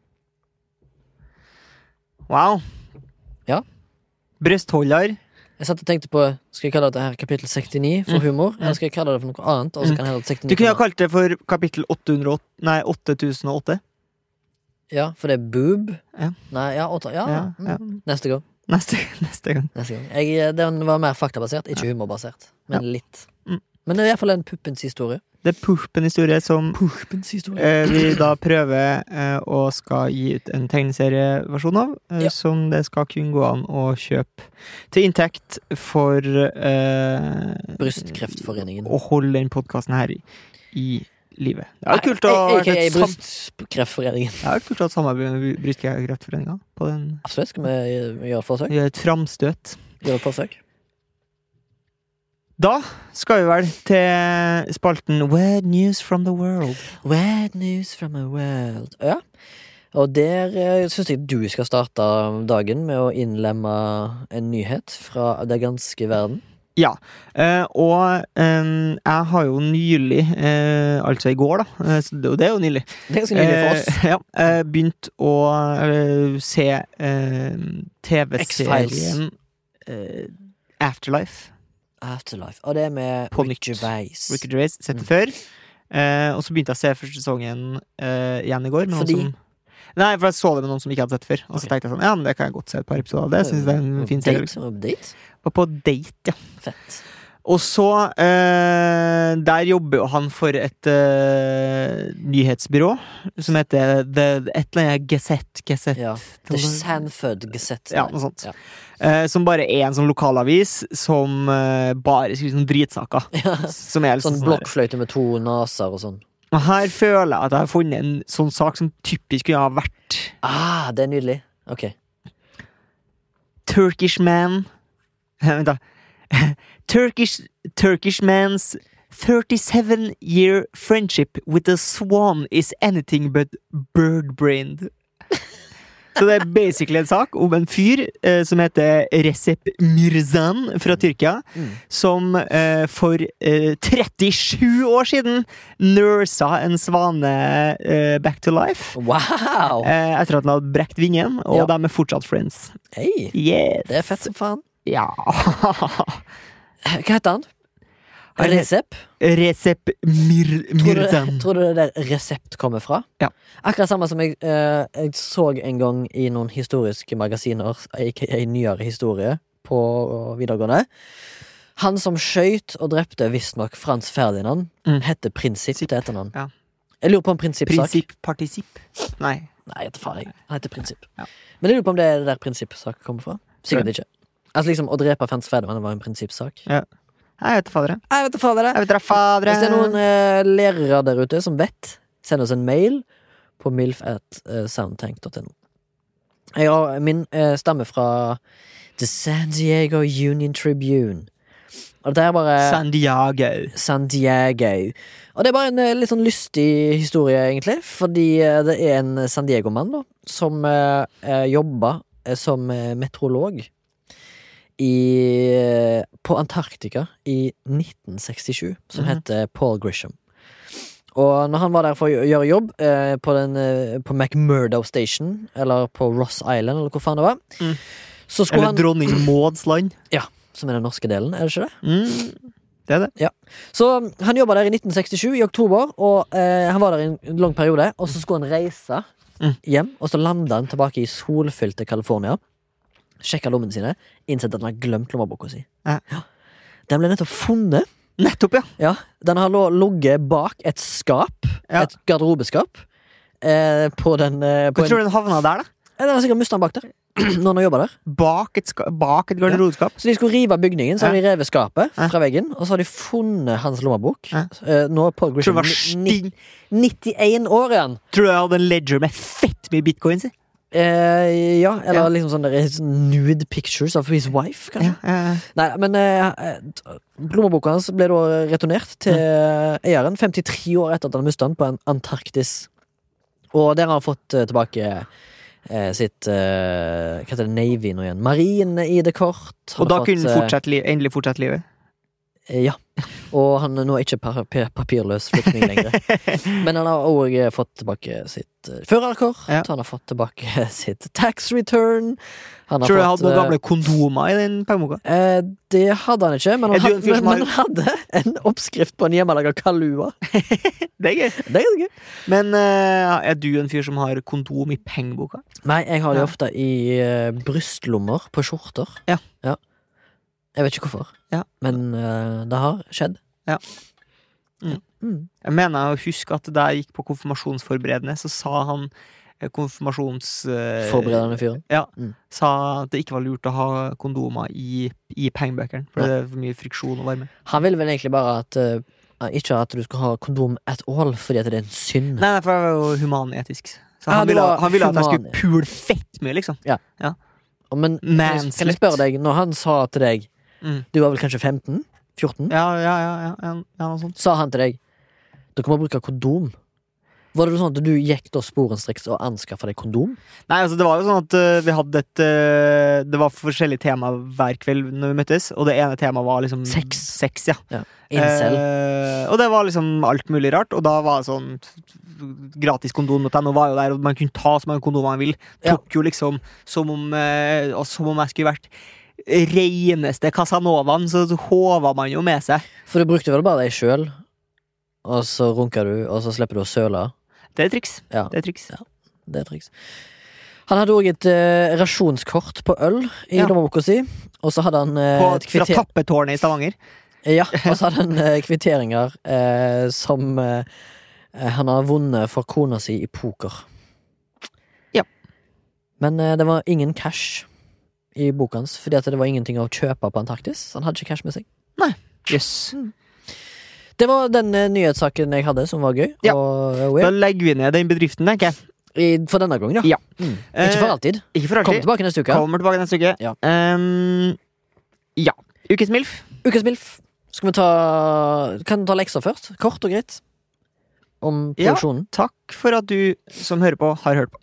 Wow. Ja. Brystholder. Jeg satt og tenkte på Skal jeg kalle dette her kapittel 69 for humor, eller skal jeg kalle det for noe annet? Og så kan jeg heller 69 Du kunne ha kalt det for kapittel 808, nei, 8008. Ja, for det er boob. Ja. Nei, ja, åtta, ja. Ja, mm. ja. Neste gang. Neste, neste gang. Neste gang. Jeg, eh, den var mer faktabasert, ikke humorbasert. Men litt. Mm. Men det er i hvert fall en puppens historie. Det er Purpen-historie som Puppens historie. eh, vi da prøver eh, å skal gi ut en tegneserieversjon av, eh, Ja. som det skal kunne gå an å kjøpe til inntekt for eh, Brystkreftforeningen. å holde den podkasten her i, i livet. Det er jo kult å ha vært AKA et sam- Brystkreftforeningen. det er jo kult å ha et samarbeid med Brystkreftforeninga på den. Absolutt. Skal vi gjøre et forsøk? Gjøre et framstøt. Gjøre et forsøk? Da skal vi vel til spalten Weird news from the world. Bad news from a world Ja. Og der syns jeg du skal starte dagen med å innlemme en nyhet fra det ganske verden. Eh, og eh, jeg har jo nylig, eh, altså i går, da, eh, så det, det er jo nylig, Det er ganske nylig for oss. Eh, ja, eh, begynt å eh, se eh, TV-serien eh, Afterlife. Afterlife. Og det er med På Ricky nytt. Gervais. Ricky Gervais, sett Mm. det før. Eh, og så begynte jeg å se første sesongen eh, igjen i går. Med Fordi? noen som Nei, for jeg så det med noen som ikke hadde sett det før. Ok. Og så Mm. tenkte jeg sånn, ja, men det kan jeg godt se et par episoder av. Det synes jeg det er en fin serie. Date, Update. Og på date, ja. Fett. Og så eh, Der jobber jo han for et eh, nyhetsbyrå som heter The, et eller annet Gazette. Gazette. Ja. The Sanford Gazette. Ja, nei. noe sånt. Ja. Eh, som bare er en sånn lokalavis som eh, bare skriver sånne dritsaker. Som er liksom Sånn blokkfløyte med to naser og sånn. Og her føler jeg at jeg har funnet en sånn sak som typisk kunne ha vært Ah, det er nydelig. Ok. Turkish man Eh, Vent, da. Turkish, Turkish man's 37 year friendship with a swan is anything but bird-brained. Så det er basically en sak om en fyr eh, som heter Recep Mirzan fra Tyrkia, Mm. som eh, for eh, 37 år siden nursa en svane eh, back to life. Wow! Eh, etter at den hadde brekt vingen, og Ja. de er fortsatt friends. Hei! Yes. Det er fett som faen. Ja. Hva heter han? Han het- Recep? Recep Mir Tror du, Mirzan. tror du det der resept kommer fra? Ja. Akkurat samme som jeg, eh, jeg så en gang i noen historiske magasiner, aka nyere historie, på videregående. Han som skøyt og drepte visstnok Frans Ferdinand, Mm. heter Prinsipp til etternavn. Ja. Jeg lurer på om prinsippsak Prinsipp partisipp. Nei. Nei, jeg vet faen, jeg. Han heter Prinsipp. Ja. Men jeg lurer på om det er der prinsippsak kommer fra. Sikkert ikke. Altså liksom Å drepe Frans Ferdinand var en prinsippsak. Jeg vet da fadere. Jeg vet da faen, det er det. Jeg vet da fadere. Hvis det er noen eh, lærere der ute som vet, send oss en mail på milf.soundtank.no. Jeg har, min eh, stammer eh, fra The San Diego Union Tribune. Og det er bare San Diego. San Diego. Og det er bare en eh, litt sånn lystig historie, egentlig. Fordi eh, det er en San Diego-mann da, som eh, eh, jobba eh, som eh, meteorolog i, eh, på Antarktika i 1967, som Mhm. heter Paul Grisham. Og når han var der for å gjø- gjøre jobb eh, på, den, eh, på McMurdo Station, eller på Ross Island, eller hvor faen det var, Mm. så skulle Eller han dronning Mauds land. Som er den norske delen, er det ikke det? Mm. Så han jobba der i 1967, i oktober, og eh, han var der i en lang periode. Og så skulle han reise Mm. hjem, og så landa han tilbake i solfylte California. Sjekka lommene sine, innsett at han har glemt lommeboka si. Ja. Den ble nettopp funnet. Nettopp, ja. Ja, Den har lå- ligget bak et skap, Ja. et garderobeskap, eh, på den eh, på Hvor en, tror du den havna der, da? Eh, Den har sikkert mista den bak der. Når han har jobbet der. Bak et, ska bak et garderobeskap? Så de skulle rive av bygningen, så har de revet skapet Ja. fra veggen. Og så har de funnet hans lommebok. Ja. Eh, Nå er Paul Tror du Grisham det var ni- sting? 91 år igjen. Tror du jeg hadde en ledger med fett mye bitcoins i? Eh, ja, eller Ja. liksom sånne der nude pictures of his wife, kanskje. ja. Nei, men eh, eh, lommeboka hans ble da returnert til eieren 53 år etter at han mistet den på en Antarktis. Og der har han fått eh, tilbake eh, sitt eh, Hva heter det, Navy nå igjen? Marine-ID-kort. Og da kunne han han fortsette li endelig fortsette livet. Eh, Ja. Og han er nå ikke pa pa papirløs flyktning lenger. Men han har òg fått tilbake sitt eh, førerkort. Ja. Han har fått tilbake sitt tax return. Han har Tror du jeg fått, hadde noen eh, gamle kondomer i den pengeboka? eh, Det hadde han ikke, men Er han, du hadde, en fyr som men, men har- han hadde en oppskrift på en hjemmelaga kalua. Det er gøy. Det er ganske gøy. Men eh, er du en fyr som har kondom i pengeboka? Nei, jeg har det Ja. ofte i eh, brystlommer på skjorter. Ja. Jeg vet ikke hvorfor, Ja. men eh, det har skjedd. Ja. Mm. Jeg mener å huske at da jeg gikk på konfirmasjonsforberedende, så sa han eh, konfirmasjons... eh, Forberedende fyren. Ja, Mm. Sa at det ikke var lurt å ha kondomer i, i pengebøkene, for Nei. det er for mye friksjon og varme. Han ville vel egentlig bare at eh, Ikke at du skal ha kondom at all, fordi at det er en synd. Nei, nei, for jeg var jo humanetisk. Så Ja, han, du ville, var han ville at jeg human, skulle pule fett mye, liksom. Og Men kan jeg- kan jeg Manslut. spørre deg, når han sa til deg Mm. Du var vel kanskje 15? 14? Ja, ja, ja, ja, ja, ja noe sånt. Sa han til deg Dere må bruke kondom. Var det sånn at du gikk da sporenstreks og anskaffa deg kondom? Nei, altså det var jo sånn at eh, vi hadde et eh, Det var forskjellige tema hver kveld når vi møttes, og det ene temaet var liksom Sex. Sex, ja. Incel. Eh, og det var liksom alt mulig rart. Og da var det sånn Gratiskondom.no var jo der, og man kunne ta så mange kondomer man vil. Ja. Tok jo liksom som om, eh, og som om jeg skulle vært reneste Casanovaen, så håva man jo med seg. For du brukte vel bare deg sjøl, og så runker du, og så slipper du å søle. Det er triks. Ja. Det er triks. Det er triks. Han hadde òg et eh, rasjonskort på øl i Ja. lommeboka si, og så hadde han eh, På, et fra kvitter... tappetårnet i Stavanger. Ja, og så hadde han eh, kvitteringer eh, som eh, han har vunnet for kona si i poker. Ja. Men eh, det var ingen cash i boka hans, fordi at det var ingenting å kjøpe på Antarktis. Så han hadde ikke cash med seg. Yes. Det var den eh, nyhetssaken jeg hadde, som var gøy. Ja. Og, eh, Da weird. legger vi ned den bedriften, tenker jeg. I, for denne gangen, Ja. Mm. Ikke for Eh, alltid. Ikke for Kom alltid. tilbake neste uke. Kommer tilbake neste uke. Ja. Um, ja. Ukes MILF. Ukens MILF. Skal vi ta Kan vi ta lekser først? Kort og greit. Om Ja. produksjonen. takk for at du som hører på, har hørt på.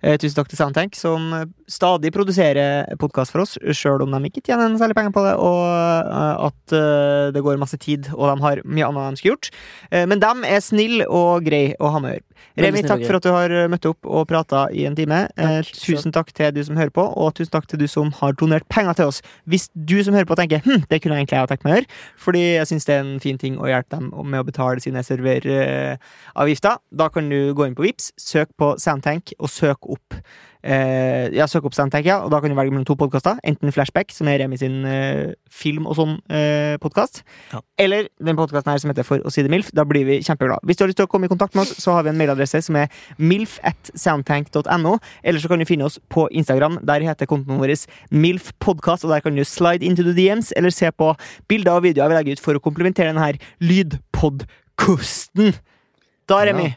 Eh, tusen takk til Soundtank, som eh, stadig produserer podkast for oss, sjøl om de ikke tjener noe særlig penger på det, og eh, at eh, det går masse tid, og de har mye annet de skulle gjort. Eh, men de er snille og greie å ha med å gjøre. Remi, snill og takk grei. for at du har eh, møtt opp og prata i en time. Eh, Takk selv. tusen takk til du som hører på, og tusen takk til du som har donert penger til oss. Hvis du som hører på tenker hm, det kunne egentlig jeg ha tenkt meg å gjøre, fordi jeg syns det er en fin ting å hjelpe dem med å betale sine serveravgifter, da kan du gå inn på Vips, søk på Soundtank og søk opp eh, Ja, søk opp Soundtank, ja, og da kan du velge mellom to podkaster. Enten Flashback, som er Remi sin eh, film og sånn eh, podkast, Ja. eller den podkasten her som heter For å si det milf. Da blir vi kjempeglade. Hvis du har lyst til å komme i kontakt med oss, så har vi en mailadresse som er milf at soundtank.no. Eller så kan du finne oss på Instagram. Der heter kontoen vår MILFpodkast, og der kan du slide into the DMs eller se på bilder og videoer vi legger ut for å komplementere denne lydpodkasten. Da, Remi,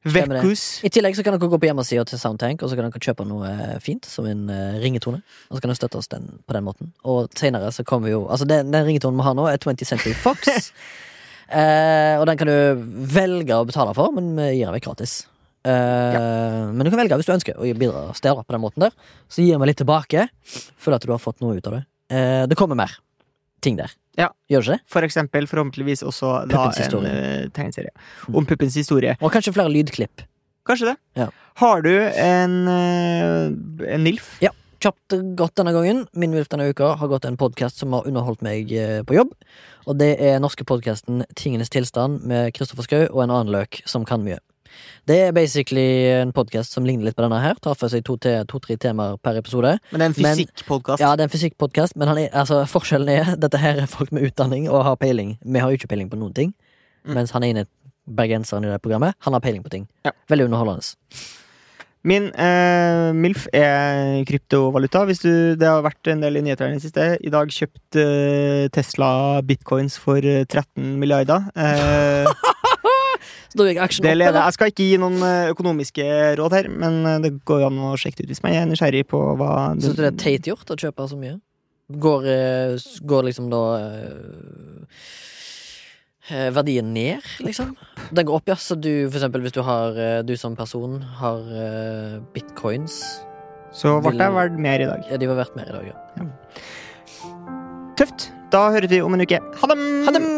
Vekkus. I tillegg så kan dere gå på hjemmesida til Soundtank, og så kan dere kjøpe noe eh, fint, som en eh, ringetone. Og så kan dere støtte oss den, på den måten. Og seinere så kommer vi jo Altså, den, den ringetonen vi har nå, er 20th Century Fox. eh, og den kan du velge å betale for, men vi gir den vekk gratis. Eh, Men du kan velge hvis du ønsker å bidra oss der, da, på den måten der. Så gir vi litt tilbake. Føler at du har fått noe ut av det. Eh, det kommer mer ting der. Ja. Gjør det ikke det? For eksempel forhåpentligvis også da Puppens en historie. eh, tegneserie om puppens historie. Og kanskje flere lydklipp. Kanskje det. Ja. Har du en, eh, en NILF? kjapt og godt denne gangen. Min MILF denne uka har gått en podkast som har underholdt meg eh, på jobb. Og det er norske podkasten Tingenes tilstand med Kristoffer Schou og en annen løk som kan mye. Det er basically en podkast som ligner litt på denne her. Tar for seg to-tre to, tre temaer per episode. Men det er en Men- fysikkpodkast. Ja, det er en fysikkpodkast, men han er, altså, forskjellen er dette her er folk med utdanning og har peiling. Vi har jo ikke peiling på noen ting. Mm. Mens han er inne bergenseren i det programmet. Han har peiling på ting. Ja. Veldig underholdende. Min eh, MILF er kryptovaluta. Hvis du, det har vært en del i nyhetene i det siste. I dag kjøpt eh, Tesla bitcoins for eh, 13 milliarder. Eh, Så da gikk aksjen det opp, leder. eller? Jeg skal ikke gi noen eh, økonomiske råd her, men eh, det går jo an å sjekke det ut hvis man er nysgjerrig på hva Syns du det er teit gjort å kjøpe så mye? Går, eh, s- går liksom da eh, eh, verdien ned, liksom? Den går opp, ja. Så du, for eksempel, hvis du har eh, Du som person har eh, bitcoins Så ble Vil- jeg verdt mer i dag. Ja, de var verdt mer i dag, ja. Tøft. Da høres vi om en uke. Ha det! Ha det!